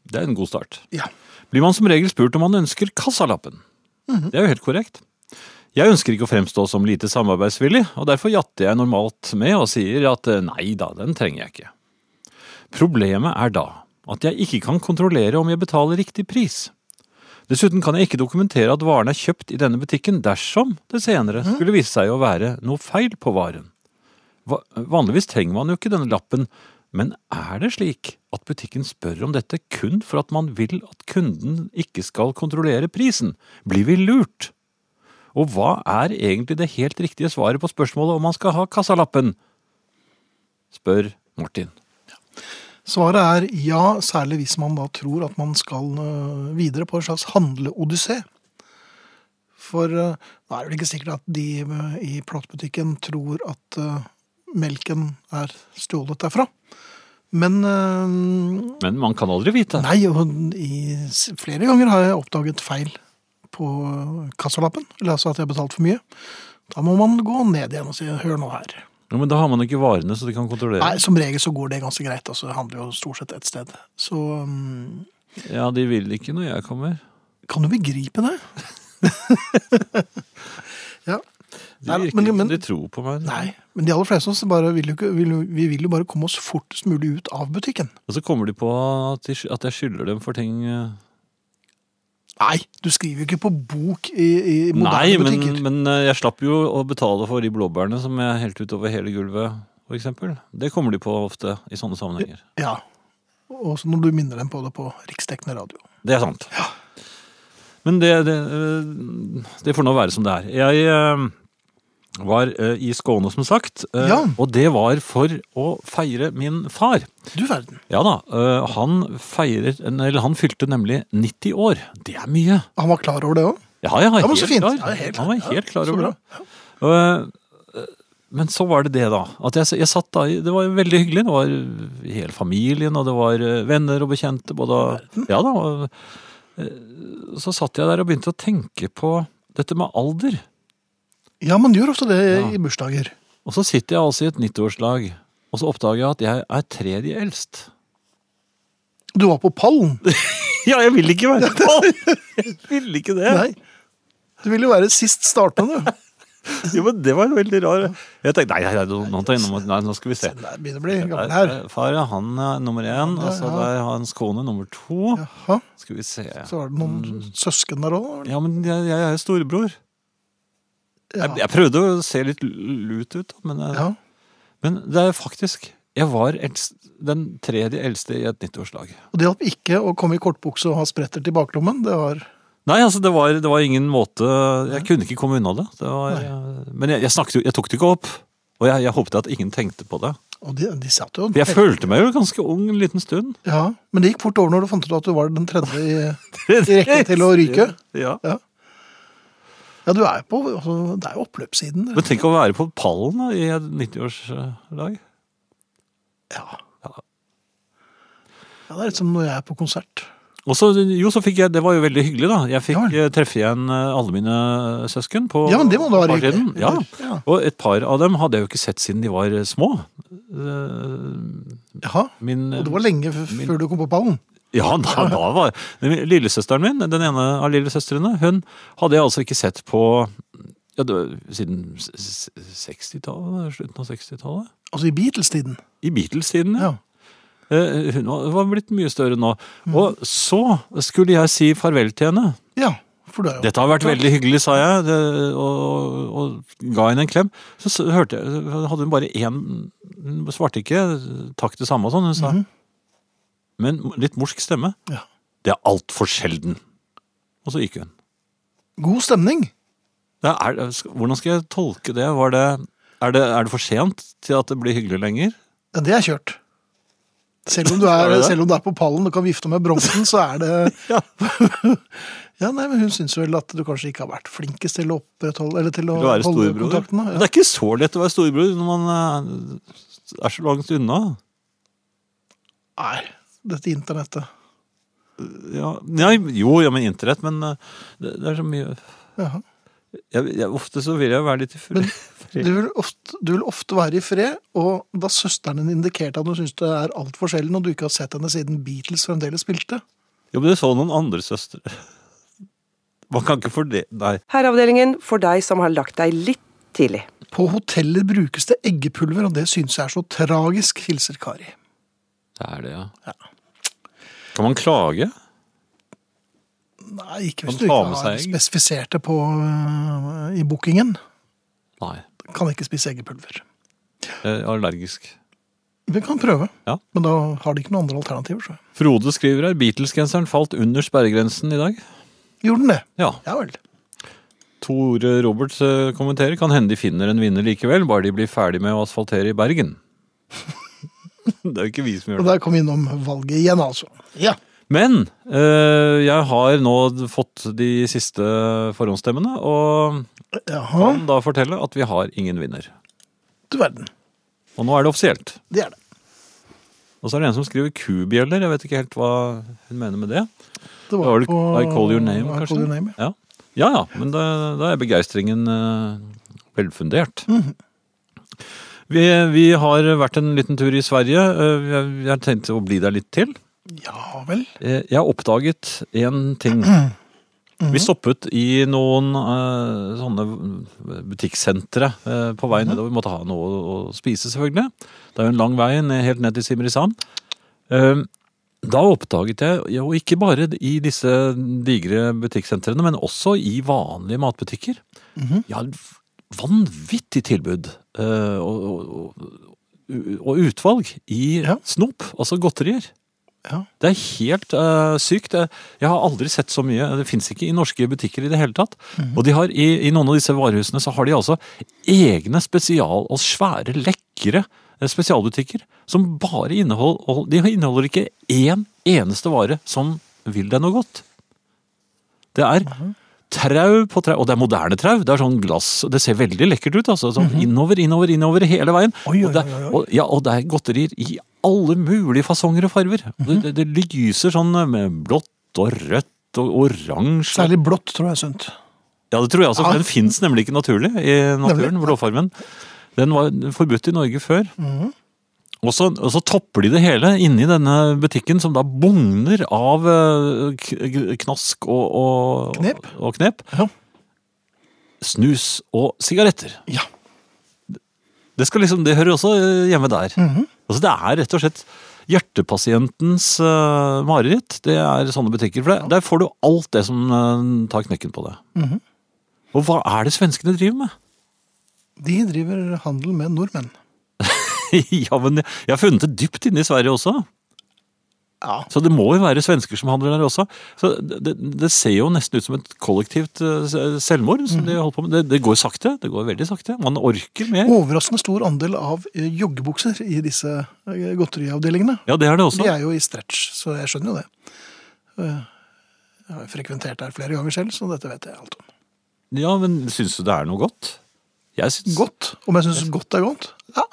det er en god start, Ja. blir man som regel spurt om man ønsker kassalappen. Det er jo helt korrekt. Jeg ønsker ikke å fremstå som lite samarbeidsvillig, og derfor jatter jeg normalt med og sier at eh, nei da, den trenger jeg ikke. Problemet er da at jeg ikke kan kontrollere om jeg betaler riktig pris. Dessuten kan jeg ikke dokumentere at varen er kjøpt i denne butikken dersom det senere skulle vise seg å være noe feil på varen. Va- Vanligvis trenger man jo ikke denne lappen, men er det slik at butikken spør om dette kun for at man vil at kunden ikke skal kontrollere prisen? Blir vi lurt? Og hva er egentlig det helt riktige svaret på spørsmålet om man skal ha kassalappen? Spør Martin. Svaret er ja, særlig hvis man da tror at man skal øh, videre på en slags handleodyssé. For øh, da er det vel ikke sikkert at de øh, i plattbutikken tror at øh, melken er stjålet derfra. Men øh, Men man kan aldri vite. Nei, og i, s- flere ganger har jeg oppdaget feil på øh, kassalappen. Eller altså at jeg har betalt for mye. Da må man gå ned igjen og si 'hør nå her'. Jo, men da har man ikke varene så de kan kontrollere. Nei, Som regel så går det ganske greit. altså Det handler jo stort sett ett sted. Så øh, Ja, de vil ikke når jeg kommer. Kan du begripe det? ja. De Nei, virker men- ikke som men- de tror på meg. Nei, men de aller fleste av oss bare vil jo ikke, vil, jo- vi vil jo bare komme oss fortest mulig ut av butikken. Og så kommer de på at, de, at jeg skylder dem for ting eh, Nei, du skriver jo ikke på bok i, i Nei, moderne men, butikker. men eh, jeg slapp jo å betale for de blåbærene som jeg helte utover hele gulvet, for eksempel. Det kommer de på ofte i sånne sammenhenger. Ja. Og så når du minner dem på det på riksdekkende radio. Det er sant. Men det, det, eh, det får nå være som det er. Jeg eh, var eh, i Skåne, som sagt, eh, Ja. og det var for å feire min far. Du verden. Ja da, eh, han, feirer, eller han fylte nemlig 90 år. Det er mye. Han var klar over det òg? Ja, ja, men helt så fint. klar. Ja, helt han klart. var helt klar så over bra. det. Og, eh, Men så var det det, da. At jeg, jeg satt da, i- Det var jo veldig hyggelig. Det var eh, hele familien, og det var eh, venner og bekjente. Både, ja da. og, eh, Så satt jeg der og begynte å tenke på dette med alder. Ja, man gjør ofte det Ja. i bursdager. Og så sitter jeg altså i et 90-årslag, og så oppdager jeg at jeg er tredje eldst. Du var på pallen. Ja, jeg vil ikke være det! Jeg vil ikke det! Nei. Du ville jo være sist startende. Jo, men det var en veldig rar Jeg tenkte, nei, nei, nei, nå, tar jeg innom- nei, nå skal vi se. Det begynner å bli gammel her. Der, eh, Far, ja, han er nummer én, og så ja. der har hans kone nummer to. Jaha. Skal vi se Så var det noen Mm. søsken der òg. Ja, men jeg, jeg er jo storebror. Ja. Jeg, jeg prøvde å se litt lut ut, da, men, jeg- Ja. men det er faktisk Jeg var eldst, den tredje eldste i et 90-årslag. Og det hjalp ikke å komme i kortbukse og ha spretter til baklommen. Det var Nei, altså, det var, det var ingen måte Jeg kunne ikke komme unna det. det var, eh, men jeg, jeg snakket jo Jeg tok det ikke opp. Og jeg, jeg håpet at ingen tenkte på det. Og de, de satt jo Jeg følte meg jo ganske ung en liten stund. Ja, Men det gikk fort over når du fant ut at du var den tredje i, i rekken til å ryke. Ja. Ja. Ja, du er jo på altså, Det er jo oppløpssiden. Men tenk å være på pallen da, i et 90-årslag. Ja. ja. Det er litt som når jeg er på konsert. Og så, jo, så fikk jeg, det var jo veldig hyggelig da. Jeg fikk Ja vel. eh, treffe igjen eh, alle mine eh, søsken på Ja, men det må da være partiden. hyggelig. Ja. Ja. og et par av dem hadde jeg jo ikke sett siden de var eh, små. Eh, Jaha. Min, Og det var lenge f før du kom på pallen. Ja, da, da var men Lillesøsteren min, den ene av lillesøstrene, hun hadde jeg altså ikke sett på ja, det var siden s- s- 60-tallet, slutten av 60-tallet. Altså i Beatles-tiden. I Beatles-tiden, Ja. ja. Mm. Eh, Hun var- var blitt mye større nå. Og så skulle jeg si farvel til henne. ja. For du er jo Dette har vært veldig hyggelig, sa jeg, det, og, og ga henne en klem. Så, s- hørte jeg, så hadde hun bare én Hun svarte ikke takk det samme og sånn. Hun sa Mhm. Men litt morsk stemme. Ja. Det er altfor sjelden. Og så gikk hun. God stemning. Det er, hvordan skal jeg tolke det? Var det er, det? er det for sent til at det blir hyggelig lenger? Ja, det er kjørt. Selv om, du Er er, det det? selv om du er på pallen og kan vifte med bronsen, så er det Ja. Ja, nei, men Hun syns vel at du kanskje ikke har vært flinkest til å opprettholde Eller til å, Til å være holde storebror. kontakten. Men da. Det Ja. er ikke så lett å være storebror når man eh, er så langt unna. Nei, dette internettet. Ja, nei, jo, ja, men internett, men eh, det, det er så mye Jaha. jeg, jeg, Ofte så vil jeg være litt i fred. Du vil, ofte, du vil ofte være i fred, og da søsteren din indikerte at hun syns det er altfor sjelden, og du ikke har sett henne siden Beatles fremdeles spilte Jo, men du så noen andre søstre. Man kan ikke fordele Nei. Herreavdelingen for deg som har lagt deg litt tidlig. På hoteller brukes det eggepulver, og det syns jeg er så tragisk, hilser Kari. Det er det, ja. Kan man klage? Nei, ikke hvis du Man tar ikke med har seg egg. spesifisert det på, øh, i bookingen. Nei. Kan ikke spise eggepulver. Jeg er allergisk. Vi kan prøve, Ja. men da har de ikke noen andre alternativer. Så. Frode skriver her Beatles-genseren falt under sperregrensen i dag. Gjorde den det? Ja. Ja vel. Tore Roberts eh, kommenterer kan hende de finner en vinner likevel, bare de blir ferdig med å asfaltere i Bergen. det er jo ikke vi som gjør Og det. der kom vi innom valget igjen, altså. Ja. Men eh, jeg har nå fått de siste forhåndsstemmene, og Jaha, kan da fortelle at vi har ingen vinner. du verden. Og nå er det offisielt. Det er det. Og så er det en som skriver kubjeller, jeg vet ikke helt hva hun mener med det. Det Da var det I Call Your Name, I kanskje? Call Your Name, ja. ja. ja, ja, men da, da er begeistringen eh, velfundert. Mhm. vi, vi har vært en liten tur i Sverige. Eh, jeg, jeg tenkte å bli der litt til. ja vel. Eh, jeg har oppdaget én ting. Vi stoppet i noen eh, sånne butikksentre eh, på vei nedover. Vi måtte ha noe å, å spise, selvfølgelig. Det er jo en lang vei ned, helt ned til Simrishamn. Eh, Da oppdaget jeg, jo ikke bare i disse digre butikksentrene, men også i vanlige matbutikker, jeg har vanvittig tilbud eh, og, og, og- og utvalg i Ja. snop, altså godterier. Ja. Det er helt eh, sykt. Jeg, jeg har aldri sett så mye. Det fins ikke i norske butikker i det hele tatt. Mhm. Og de har, i, i noen av disse varehusene så har de altså egne spesial og svære, lekre eh, spesialbutikker som bare inneholder De inneholder ikke én eneste vare som vil deg noe godt. Det er Mhm. trau på trau, og det er moderne trau. Det er sånn glass, det ser veldig lekkert ut. altså, sånn Innover, innover, innover hele veien. Mhm. Oi, oi, og, det, oi, oi. Og, ja, og det er godterier i alle mulige fasonger og farver. Og det, det, det lyser sånn eh, med blått og rødt og oransje. Særlig blått tror jeg er sunt. Ja, det tror jeg også, for Ja. den fins nemlig ikke naturlig i naturen, blåfarmen. Den var forbudt i Norge før. Mhm. Og så, og så topper de det hele inni denne butikken, som da bugner av eh, k- k- knask og, og Knep. Og knep. Ja. Snus og sigaretter. Ja. Det, skal liksom, det hører også eh, hjemme der. Mhm. altså, det er rett og slett hjertepasientens eh, mareritt. Det er sånne butikker. For det, Der får du alt det som eh, tar knekken på det. Mhm. Og hva er det svenskene driver med? De driver handel med nordmenn. ja, men jeg- jeg har funnet det dypt inne i Sverige også. Ja. Så det må jo være svensker som handler der også. Så det, det- det ser jo nesten ut som et kollektivt eh, s- selvmord. som Mhm. de holder på med. Det, det går sakte. Det går veldig sakte. Man orker mer. Overraskende stor andel av eh, joggebukser i disse eh, godteriavdelingene. Ja, det er det også. De er jo i stretch, så jeg skjønner jo det. Eh, Jeg har jo frekventert der flere ganger selv, så dette vet jeg alt om. Ja, men syns du det er noe godt? Jeg syns Godt. Om jeg syns godt er godt? Ja.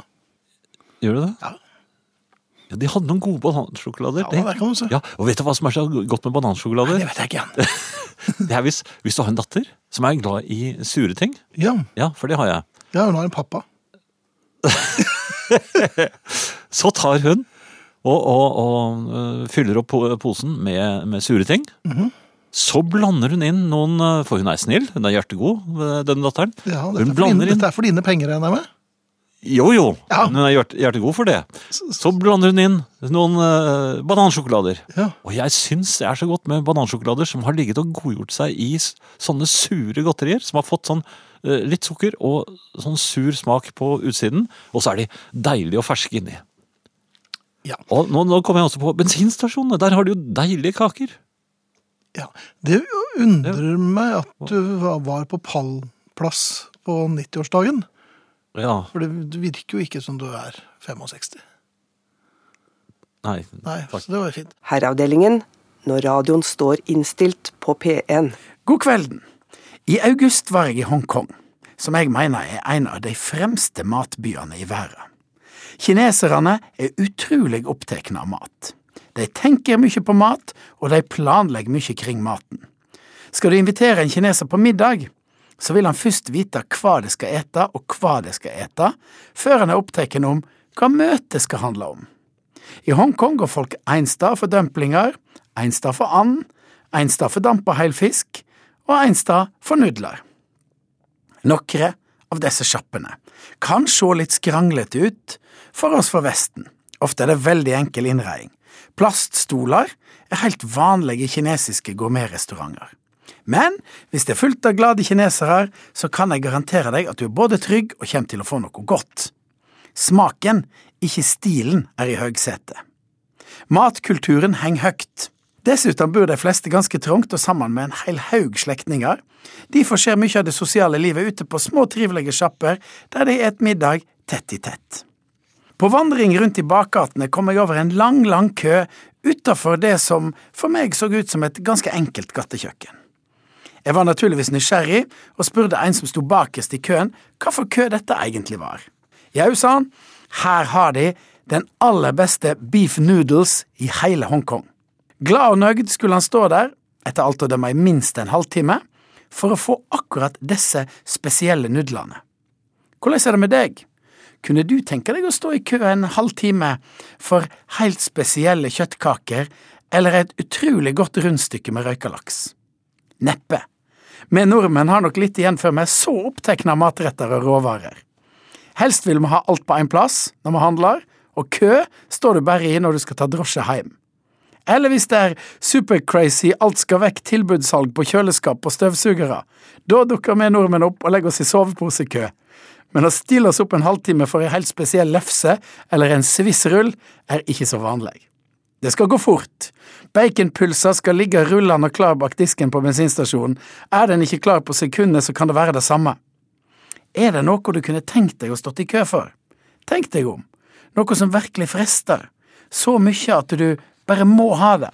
Gjør du det? Ja. Ja, De hadde noen gode banansjokolader. Ja, der kan du se. Ja, og vet du hva som er så godt med banansjokolader? Det vet jeg ikke igjen. Det er hvis, hvis du har en datter som er glad i sure ting. Ja, Ja, for det har jeg. ja hun har en pappa. Så tar hun og, og, og øh, fyller opp po- posen med, med sure ting. Mhm. Så blander hun inn noen øh, For hun er snill, hun er hjertegod, øh, denne datteren. Ja, dette, er hun for dine, blander inn dette er for dine penger, regner jeg med? Jo, jo, Ja. hun er hjert, hjertegod for det. Så blander hun inn noen øh, banansjokolader. Ja. Og jeg syns det er så godt med banansjokolader som har ligget og godgjort seg i s- sånne sure godterier, som har fått sånn øh, litt sukker og sånn sur smak på utsiden, og så er de deilige og ferske inni. Ja. Og nå, nå kommer jeg også på bensinstasjonene. Der har de jo deilige kaker. ja. Det undrer meg at du var- var på pallplass på 90-årsdagen. Ja, For det virker jo ikke som du er 65. nei, Nei, takk. så det var fint. Herreavdelingen når radioen står innstilt på P1. God kvelden. I august var jeg i Hongkong, som jeg mener er en av de fremste matbyene i verden. Kineserne er utrolig opptatt av mat. De tenker mye på mat, og de planlegger mye kring maten. Skal du invitere en kineser på middag, så vil han først vite hva de skal ete og hva de skal ete, før han er opptatt om hva møtet skal handle om. I Hongkong går folk én stad for dumplinger, én stad for and, én stad for dampa heil fisk og én stad for nudler. Nokre av disse sjappene kan se litt skranglete ut for oss fra Vesten. Ofte er det veldig enkel innredning. Plaststoler er helt vanlige kinesiske gourmetrestauranter. Men hvis det er fullt av glade kinesere, så kan jeg garantere deg at du er både trygg og kommer til å få noe godt. Smaken, ikke stilen, er i høgsetet. Matkulturen henger høyt. Dessuten bor de fleste ganske trangt og sammen med en hel haug slektninger. Derfor skjer mye av det sosiale livet ute på små, trivelige sjapper der de et middag tett i tett. På vandring rundt i bakgatene kom jeg over en lang, lang kø utafor det som for meg så ut som et ganske enkelt gattekjøkken. Jeg var naturligvis nysgjerrig og spurte en som sto bakerst i køen hva for kø dette egentlig var. Jau, sa han, her har de den aller beste beef noodles i hele Hongkong. Glad og nøyd skulle han stå der, etter alt å dømme i minst en halvtime, for å få akkurat disse spesielle nudlene. Hvordan er det med deg? Kunne du tenke deg å stå i kø en halv time for helt spesielle kjøttkaker eller et utrolig godt rundstykke med røyka laks? Neppe. Vi nordmenn har nok litt igjen før vi er så opptatt av matretter og råvarer. Helst vil vi ha alt på én plass når vi handler, og kø står du bare i når du skal ta drosje hjem. Eller hvis det er supercrazy alt skal vekk-tilbudssalg på kjøleskap og støvsugere. Da dukker vi nordmenn opp og legger oss i soveposekø. Men å stille oss opp en halvtime for en helt spesiell lefse eller en svissrull er ikke så vanlig. Det skal gå fort. Baconpølser skal ligge rullende og klar bak disken på bensinstasjonen. Er den ikke klar på sekundet, så kan det være det samme. Er det noe du kunne tenkt deg å stått i kø for? Tenk deg om. Noe som virkelig frister. Så mye at du bare må ha det.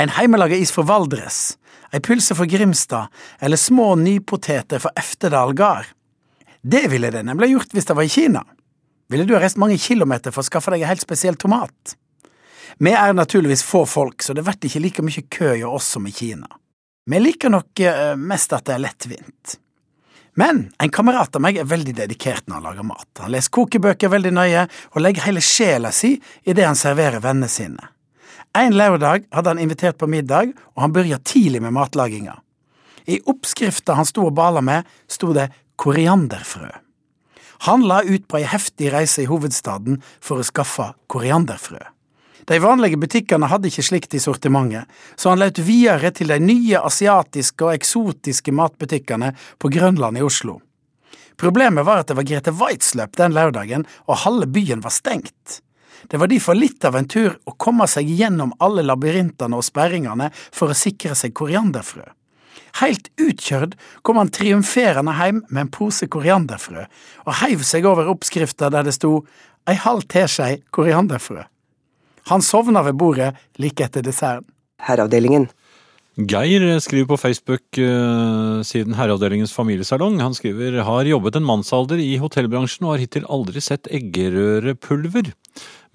En heimelaga is fra Valdres, ei pølse fra Grimstad, eller små nypoteter fra Eftedal gard. Det ville det nemlig gjort hvis det var i Kina. Ville du ha reist mange kilometer for å skaffe deg en helt spesiell tomat? Vi er naturligvis få folk, så det blir ikke like mye kø hos oss som i Kina. Vi liker nok eh, mest at det er lettvint. Men en kamerat av meg er veldig dedikert når han lager mat. Han leser kokebøker veldig nøye og legger hele sjela si i det han serverer vennene sine. En lørdag hadde han invitert på middag, og han begynte tidlig med matlaginga. I oppskrifta han sto og bala med, sto det korianderfrø. Han la ut på ei heftig reise i hovedstaden for å skaffe korianderfrø. De vanlige butikkene hadde ikke slikt i sortimentet, så han løp videre til de nye asiatiske og eksotiske matbutikkene på Grønland i Oslo. Problemet var at det var Grete Waitz-løp den lørdagen, og halve byen var stengt. Det var derfor litt av en tur å komme seg gjennom alle labyrintene og sperringene for å sikre seg korianderfrø. Helt utkjørt kom han triumferende hjem med en pose korianderfrø, og heiv seg over oppskrifta der det sto ei halv teskei korianderfrø. Han sovna ved bordet like etter desserten. Herreavdelingen. Geir skriver på Facebook-siden Herreavdelingens familiesalong. Han skriver har jobbet en mannsalder i hotellbransjen og har hittil aldri sett eggerørepulver.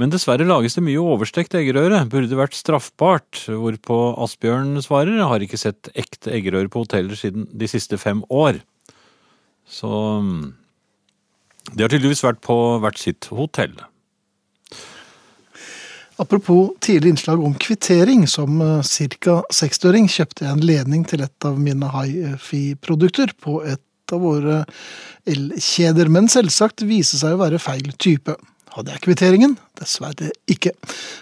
Men dessverre lages det mye overstekt eggerøre. Burde vært straffbart. Hvorpå Asbjørn svarer har ikke sett ekte eggerøre på hoteller siden de siste fem år. Så mm, De har tydeligvis vært på hvert sitt hotell. Apropos tidlig innslag om kvittering. Som ca. 60-åring kjøpte jeg en ledning til et av mine hifi-produkter på et av våre elkjeder, men selvsagt viste seg å være feil type. Hadde jeg kvitteringen? Dessverre ikke.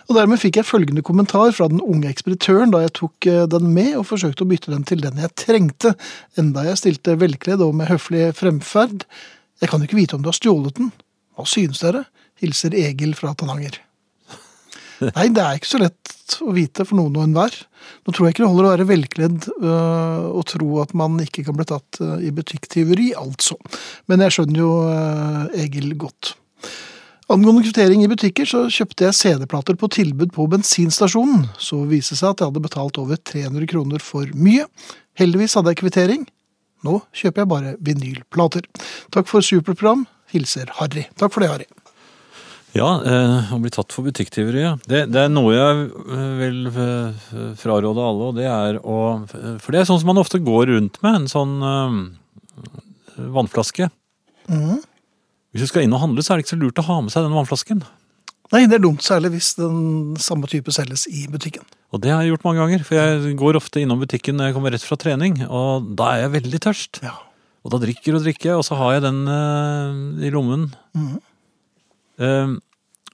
Og dermed fikk jeg følgende kommentar fra den unge ekspeditøren da jeg tok eh, den med og forsøkte å bytte den til den jeg trengte, enda jeg stilte velkledd og med høflig fremferd. Jeg kan jo ikke vite om du har stjålet den. Hva synes dere? Hilser Egil fra Tananger. Nei, det er ikke så lett å vite for noen og enhver. Nå tror jeg ikke det holder å være velkledd øh, og tro at man ikke kan bli tatt øh, i butikktyveri, altså. Men jeg skjønner jo øh, Egil godt. Angående kvittering i butikker, så kjøpte jeg CD-plater på tilbud på bensinstasjonen. Så viste det seg at jeg hadde betalt over 300 kroner for mye. Heldigvis hadde jeg kvittering. Nå kjøper jeg bare vinylplater. Takk for superprogram. Hilser Harry. Takk for det, Harry. Ja, eh, å bli tatt for butikktyveri. Ja. Det, det er noe jeg eh, vil eh, fraråde alle, og det er å For det er sånn som man ofte går rundt med, en sånn eh, vannflaske. Hvis du skal inn og handle, så er det ikke så lurt å ha med seg den vannflasken. Nei, det er dumt, særlig hvis den samme type selges i butikken. Og det har jeg gjort mange ganger, for jeg går ofte innom butikken når jeg kommer rett fra trening, og da er jeg veldig tørst. Ja. Og da drikker og drikker jeg, og så har jeg den eh, i lommen. Eh,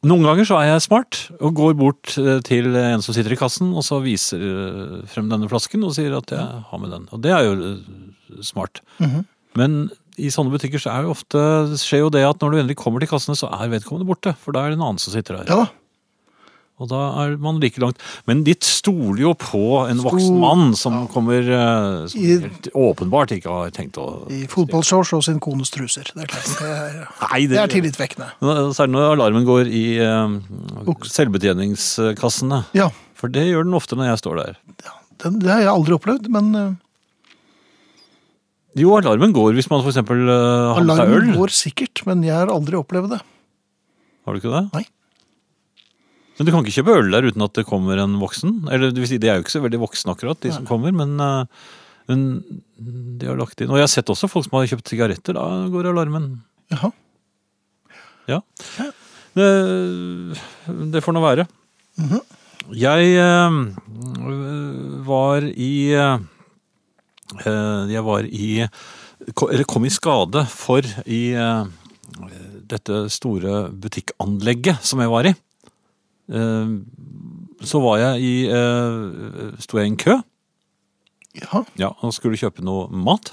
noen ganger så er jeg smart og går bort eh, til en som sitter i kassen, og så viser eh, frem denne flasken og sier at jeg har med den. Og det er jo eh, smart. Men i sånne butikker så er det ofte, skjer jo det at når du endelig kommer til kassene, så er vedkommende borte, for da er det en annen som sitter der. Ja da. Og da er man like langt. Men ditt stoler jo på en voksen mann som kommer eh, som I- helt åpenbart ikke har tenkt å I fotballshorts og sin kones truser. Det er, klart, det er, Nei, det er tillitvekkende. Særlig når alarmen går i eh, Buks. selvbetjeningskassene. Ja, For det gjør den ofte når jeg står der. den, det har jeg aldri opplevd, men eh, Jo, alarmen går hvis man for eksempel eh, har med seg øl. alarmen går sikkert. Men jeg har aldri opplevd det. Har du ikke det? Nei. Men du kan ikke kjøpe øl der uten at det kommer en voksen? Eller det vil si, de er jo ikke så veldig voksne akkurat, de som kommer, men, eh, men de har lagt inn Og jeg har sett også folk som har kjøpt sigaretter. Da går alarmen. Jaha. Ja. Det, det får nå være. Jeg eh, var i eh, Jeg var i ko- Eller kom i skade for i eh, dette store butikkanlegget som jeg var i. Eh, så var jeg i eh, Sto jeg i en kø Ja, ja, og skulle kjøpe noe mat.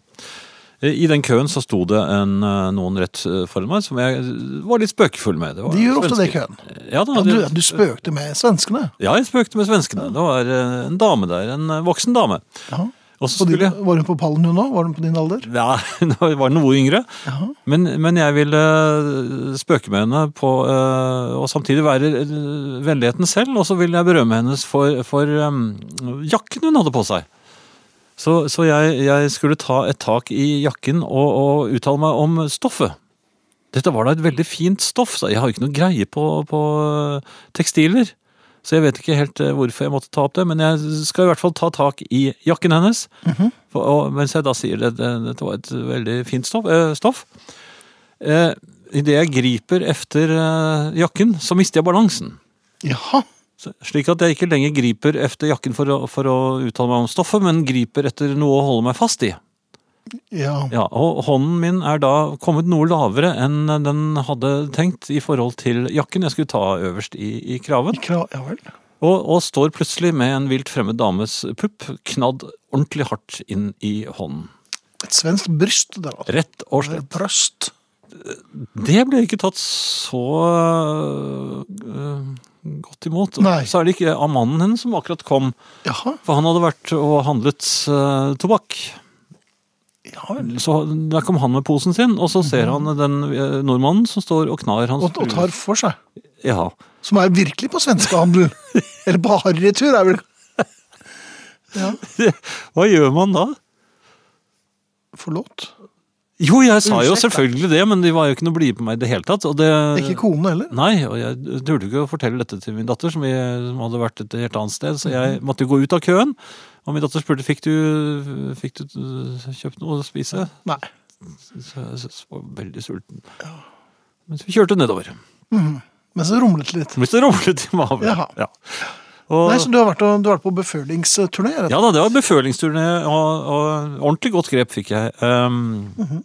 Eh, I den køen så sto det en, eh, noen rett eh, foran meg som jeg eh, var litt spøkefull med. Det var De gjør ofte det i svensker. køen. Ja, da, Ja, du, de- du spøkte med svenskene. ja, jeg spøkte med svenskene. Det var eh, en dame der, en eh, voksen dame. Ja. Og så Og de, skulle jeg... var hun på pallen hun òg? Var hun på din alder? Ja, hun var noe yngre, Jaha. men, men jeg ville eh, spøke med henne på, eh, og samtidig være eh, vennligheten selv, og så ville jeg berømme hennes for, for eh, jakken hun hadde på seg. Så, så jeg, jeg skulle ta et tak i jakken og, og uttale meg om stoffet. Dette var da et veldig fint stoff, sa jeg. Jeg har jo ikke noe greie på, på eh, tekstiler. Så jeg vet ikke helt eh, hvorfor jeg måtte ta opp det, men jeg skal i hvert fall ta tak i jakken hennes. For- og, mens jeg da sier det, det, dette var et veldig fint stoff. Eh, stoff. Eh, Idet jeg griper efter eh, jakken, så mister jeg balansen. Jaha. Så, slik at jeg ikke lenger griper efter jakken for å, for å uttale meg om stoffet, men griper etter noe å holde meg fast i. Ja. Ja, og hånden min er da kommet noe lavere enn den hadde tenkt i forhold til jakken jeg skulle ta øverst i, i kraven, Kra ja vel. og, og står plutselig med en vilt fremmed dames pupp knadd ordentlig hardt inn i hånden. Et svensk bryst der, altså. Rett og slett. Brøst. Det ble ikke tatt så øh, godt imot. Nei. Særlig ikke av mannen hennes som akkurat kom, Jaha. for han hadde vært og handlet øh, tobakk. Ja vel. Så der kom han med posen sin, og så ser han den øh, nordmannen som står og knar hans Mhm. Og, og tar for seg. Ja. Som er virkelig på svenskehandel. Eller på harrytur, er vel Hva gjør man da? Forlåt. Jo, jeg sa jo Unnskyld, da. selvfølgelig det, men de var jo ikke noe blide på meg i det hele tatt. Og det, Ikke kone heller. Nei, og jeg turte ikke å fortelle dette til min datter, som, vi, som hadde vært et helt annet sted. Så jeg Mhm. måtte jo gå ut av køen. Og min datter spurte fikk du fikk du øh, kjøpt noe å spise. Nei. Så jeg s- var veldig sulten. Mens vi kjørte nedover. Men så rumlet det litt. Mens det rumlet i magen. Jaha. Ja. Og, Nei, så du har vært, og- du har vært på befølingsturné? rett og ja da, det var befølingsturné, og, og ordentlig godt grep fikk jeg. Um, Mhm.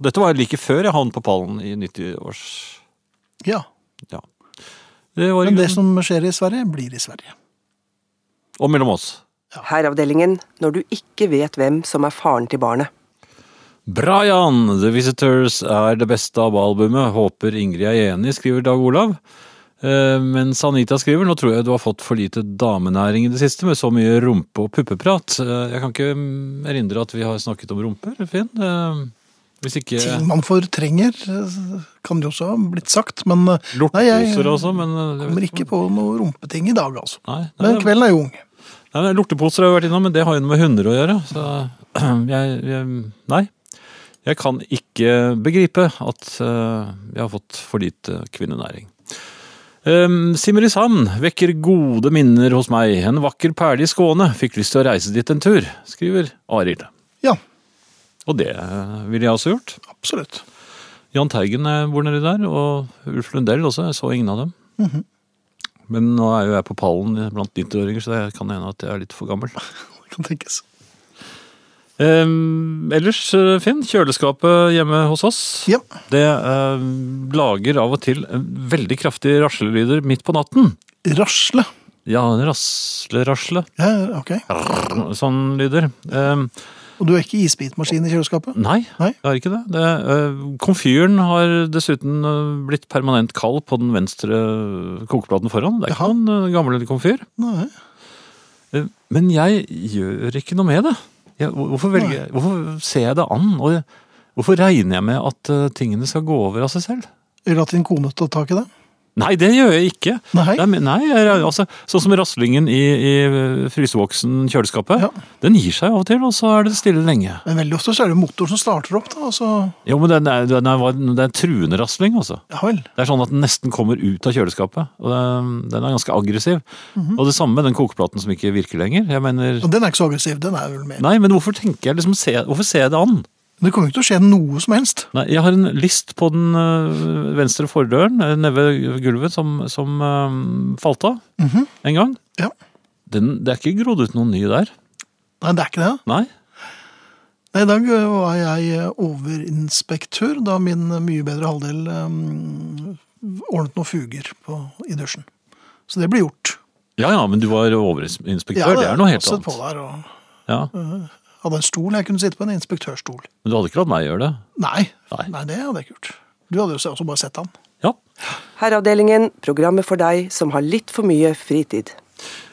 Dette var like før jeg havnet på pallen i 90-års... slett? ja. Ja. Det var i Men det grunnen- som skjer i Sverige, blir i Sverige. Og mellom oss. Herreavdelingen når du ikke vet hvem som er faren til barnet. Brian, The Visitors er det beste av albumet. Håper Ingrid er enig, skriver Dag Olav. Eh, Mens Anita skriver, nå tror jeg du har fått for lite damenæring i det siste, med så mye rumpe- og puppeprat. Eh, Jeg kan ikke mm, erindre at vi har snakket om rumper, Finn. Eh, Hvis ikke Ting man fortrenger, eh, kan jo også ha blitt sagt, men eh, nei, jeg lorteposer også, men eh, jeg kommer vet ikke på noe rumpeting i dag, altså. Nei, nei, Men det- kvelden er jo ung. Nei, men Lorteposer har jeg vært innom, men det har jo noe med hunder å gjøre. Så jeg, jeg Nei. Jeg kan ikke begripe at eh, jeg har fått for lite kvinnenæring. Um, Simrishamn vekker gode minner hos meg. En vakker perle i Skåne. Fikk lyst til å reise dit en tur, skriver Arild. Ja, Og det eh, ville jeg også gjort. absolutt. Jahn Teigen eh, bor nedi der, og Ulf Lundell også. Jeg så ingen av dem. Men nå er jo jeg på pallen blant 90-åringer, så det kan hende at jeg er litt for gammel. Det kan tenkes. Ehm, ellers, eh, Finn, kjøleskapet hjemme hos oss Ja. Det eh, lager av og til eh, veldig kraftige raslelyder midt på natten. Rasle. Ja, rasle-rasle. Ja, ok. Sånn lyder. Ehm, Og du har ikke isbitmaskin i kjøleskapet? nei, Nei. det er ikke det. det eh, komfyren har dessuten eh, blitt permanent kald på den venstre kokeplaten foran. Det er ikke Jaha. noen eh, gammel komfyr. Nei. Eh, Men jeg gjør ikke noe med det. Jeg, hvor- hvorfor, velger, jeg- hvorfor ser jeg det an? Og jeg- hvorfor regner jeg med at eh, tingene skal gå over av seg selv? Eller at din kone tar tak i det? Nei, det gjør jeg ikke. Nei. Det er men- nei jeg, altså, sånn som raslingen i, i frysevoksen kjøleskapet. Ja. Den gir seg av og til, og så er det stille lenge. Men veldig ofte så er det motoren som starter opp, da. og så- Jo, men den er, den er, det er en truende rasling, altså. ja vel. Det er sånn at den nesten kommer ut av kjøleskapet. Og den, den er ganske aggressiv. Og det samme med den kokeplaten som ikke virker lenger. Jeg mener... Mhm. Og den er ikke så aggressiv, den er vel mer. Nei, men hvorfor tenker jeg liksom, se, hvorfor ser jeg det an? Det kommer jo ikke til å skje noe som helst. Nei, jeg har en list på den øh, venstre fordøren, øh, nede ved gulvet, som, som øh, falt av en gang. Mhm. Ja. Den, det er ikke grodd ut noen ny der. Nei, det er ikke det. Nei. Nei, I dag øh, var jeg overinspektør da min øh, mye bedre halvdel øh, um, ordnet noen fuger på, i dusjen. Så det ble gjort. Ja ja, men du var overinspektør. det er noe helt passet på Mm. annet. der og Ja. hadde en stol. Jeg kunne sitte på en inspektørstol. Men du hadde ikke latt meg gjøre det? Nei, Nei. nei. det hadde jeg ikke gjort. Du hadde jo også bare sett han. Ja. Herreavdelingen, programmet for deg som har litt for mye fritid.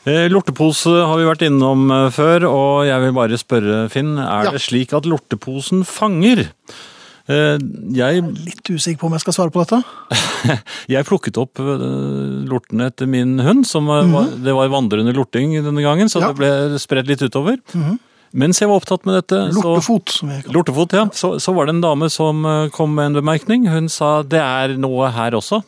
Eh, Lortepose har vi vært innom eh, før, og jeg vil bare spørre, Finn. Er Ja. det slik at lorteposen fanger? Eh, Jeg Litt usikker på om jeg skal svare på dette. Jeg plukket opp øh, lortene etter min hund. Som øh, var, det var vandrende lorting denne gangen, så Mhm. Ja. Mhm. det ble spredt litt utover. Mens jeg var opptatt med dette så, Lortefot, som vi kaller det. Lortefot, ja. Så, så var det en dame som øh, kom med en bemerkning. Hun sa det er noe her også.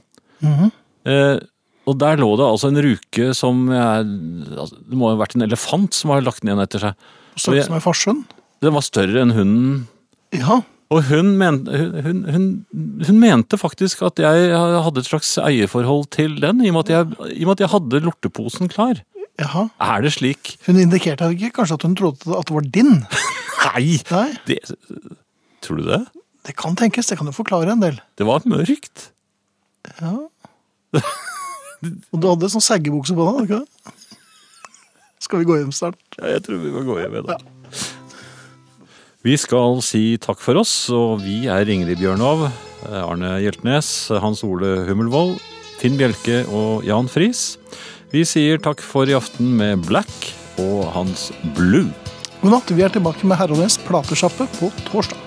Mhm. Eh, og der lå det altså en ruke som jeg, altså, Det må ha vært en elefant som har lagt den igjen etter seg. Størrelse som en farsund. Den var større enn hunden. Ja. Og hun, men, hun, hun, hun mente faktisk at jeg hadde et slags eierforhold til den, i og med at jeg, i og med at jeg hadde lorteposen klar. Jaha. Er det slik? Hun indikerte ikke kanskje at hun trodde at det var din. Nei! Nei, Det, tror du det? det kan tenkes. Det kan jo forklare en del. Det var mørkt. Og du hadde sånn seggebukse på deg, hadde du ikke det? Skal vi gå hjem snart? Ja, jeg tror vi må gå hjem i dag. Vi skal si takk for oss, og vi er Ingrid Bjørnov, Arne Hjeltnes, Hans Ole Hummelvold, Finn Bjelke og Jan Friis. Vi sier takk for i aften med Black og hans Blue. God natt. Vi er tilbake med Herrenes platesjappe på torsdag.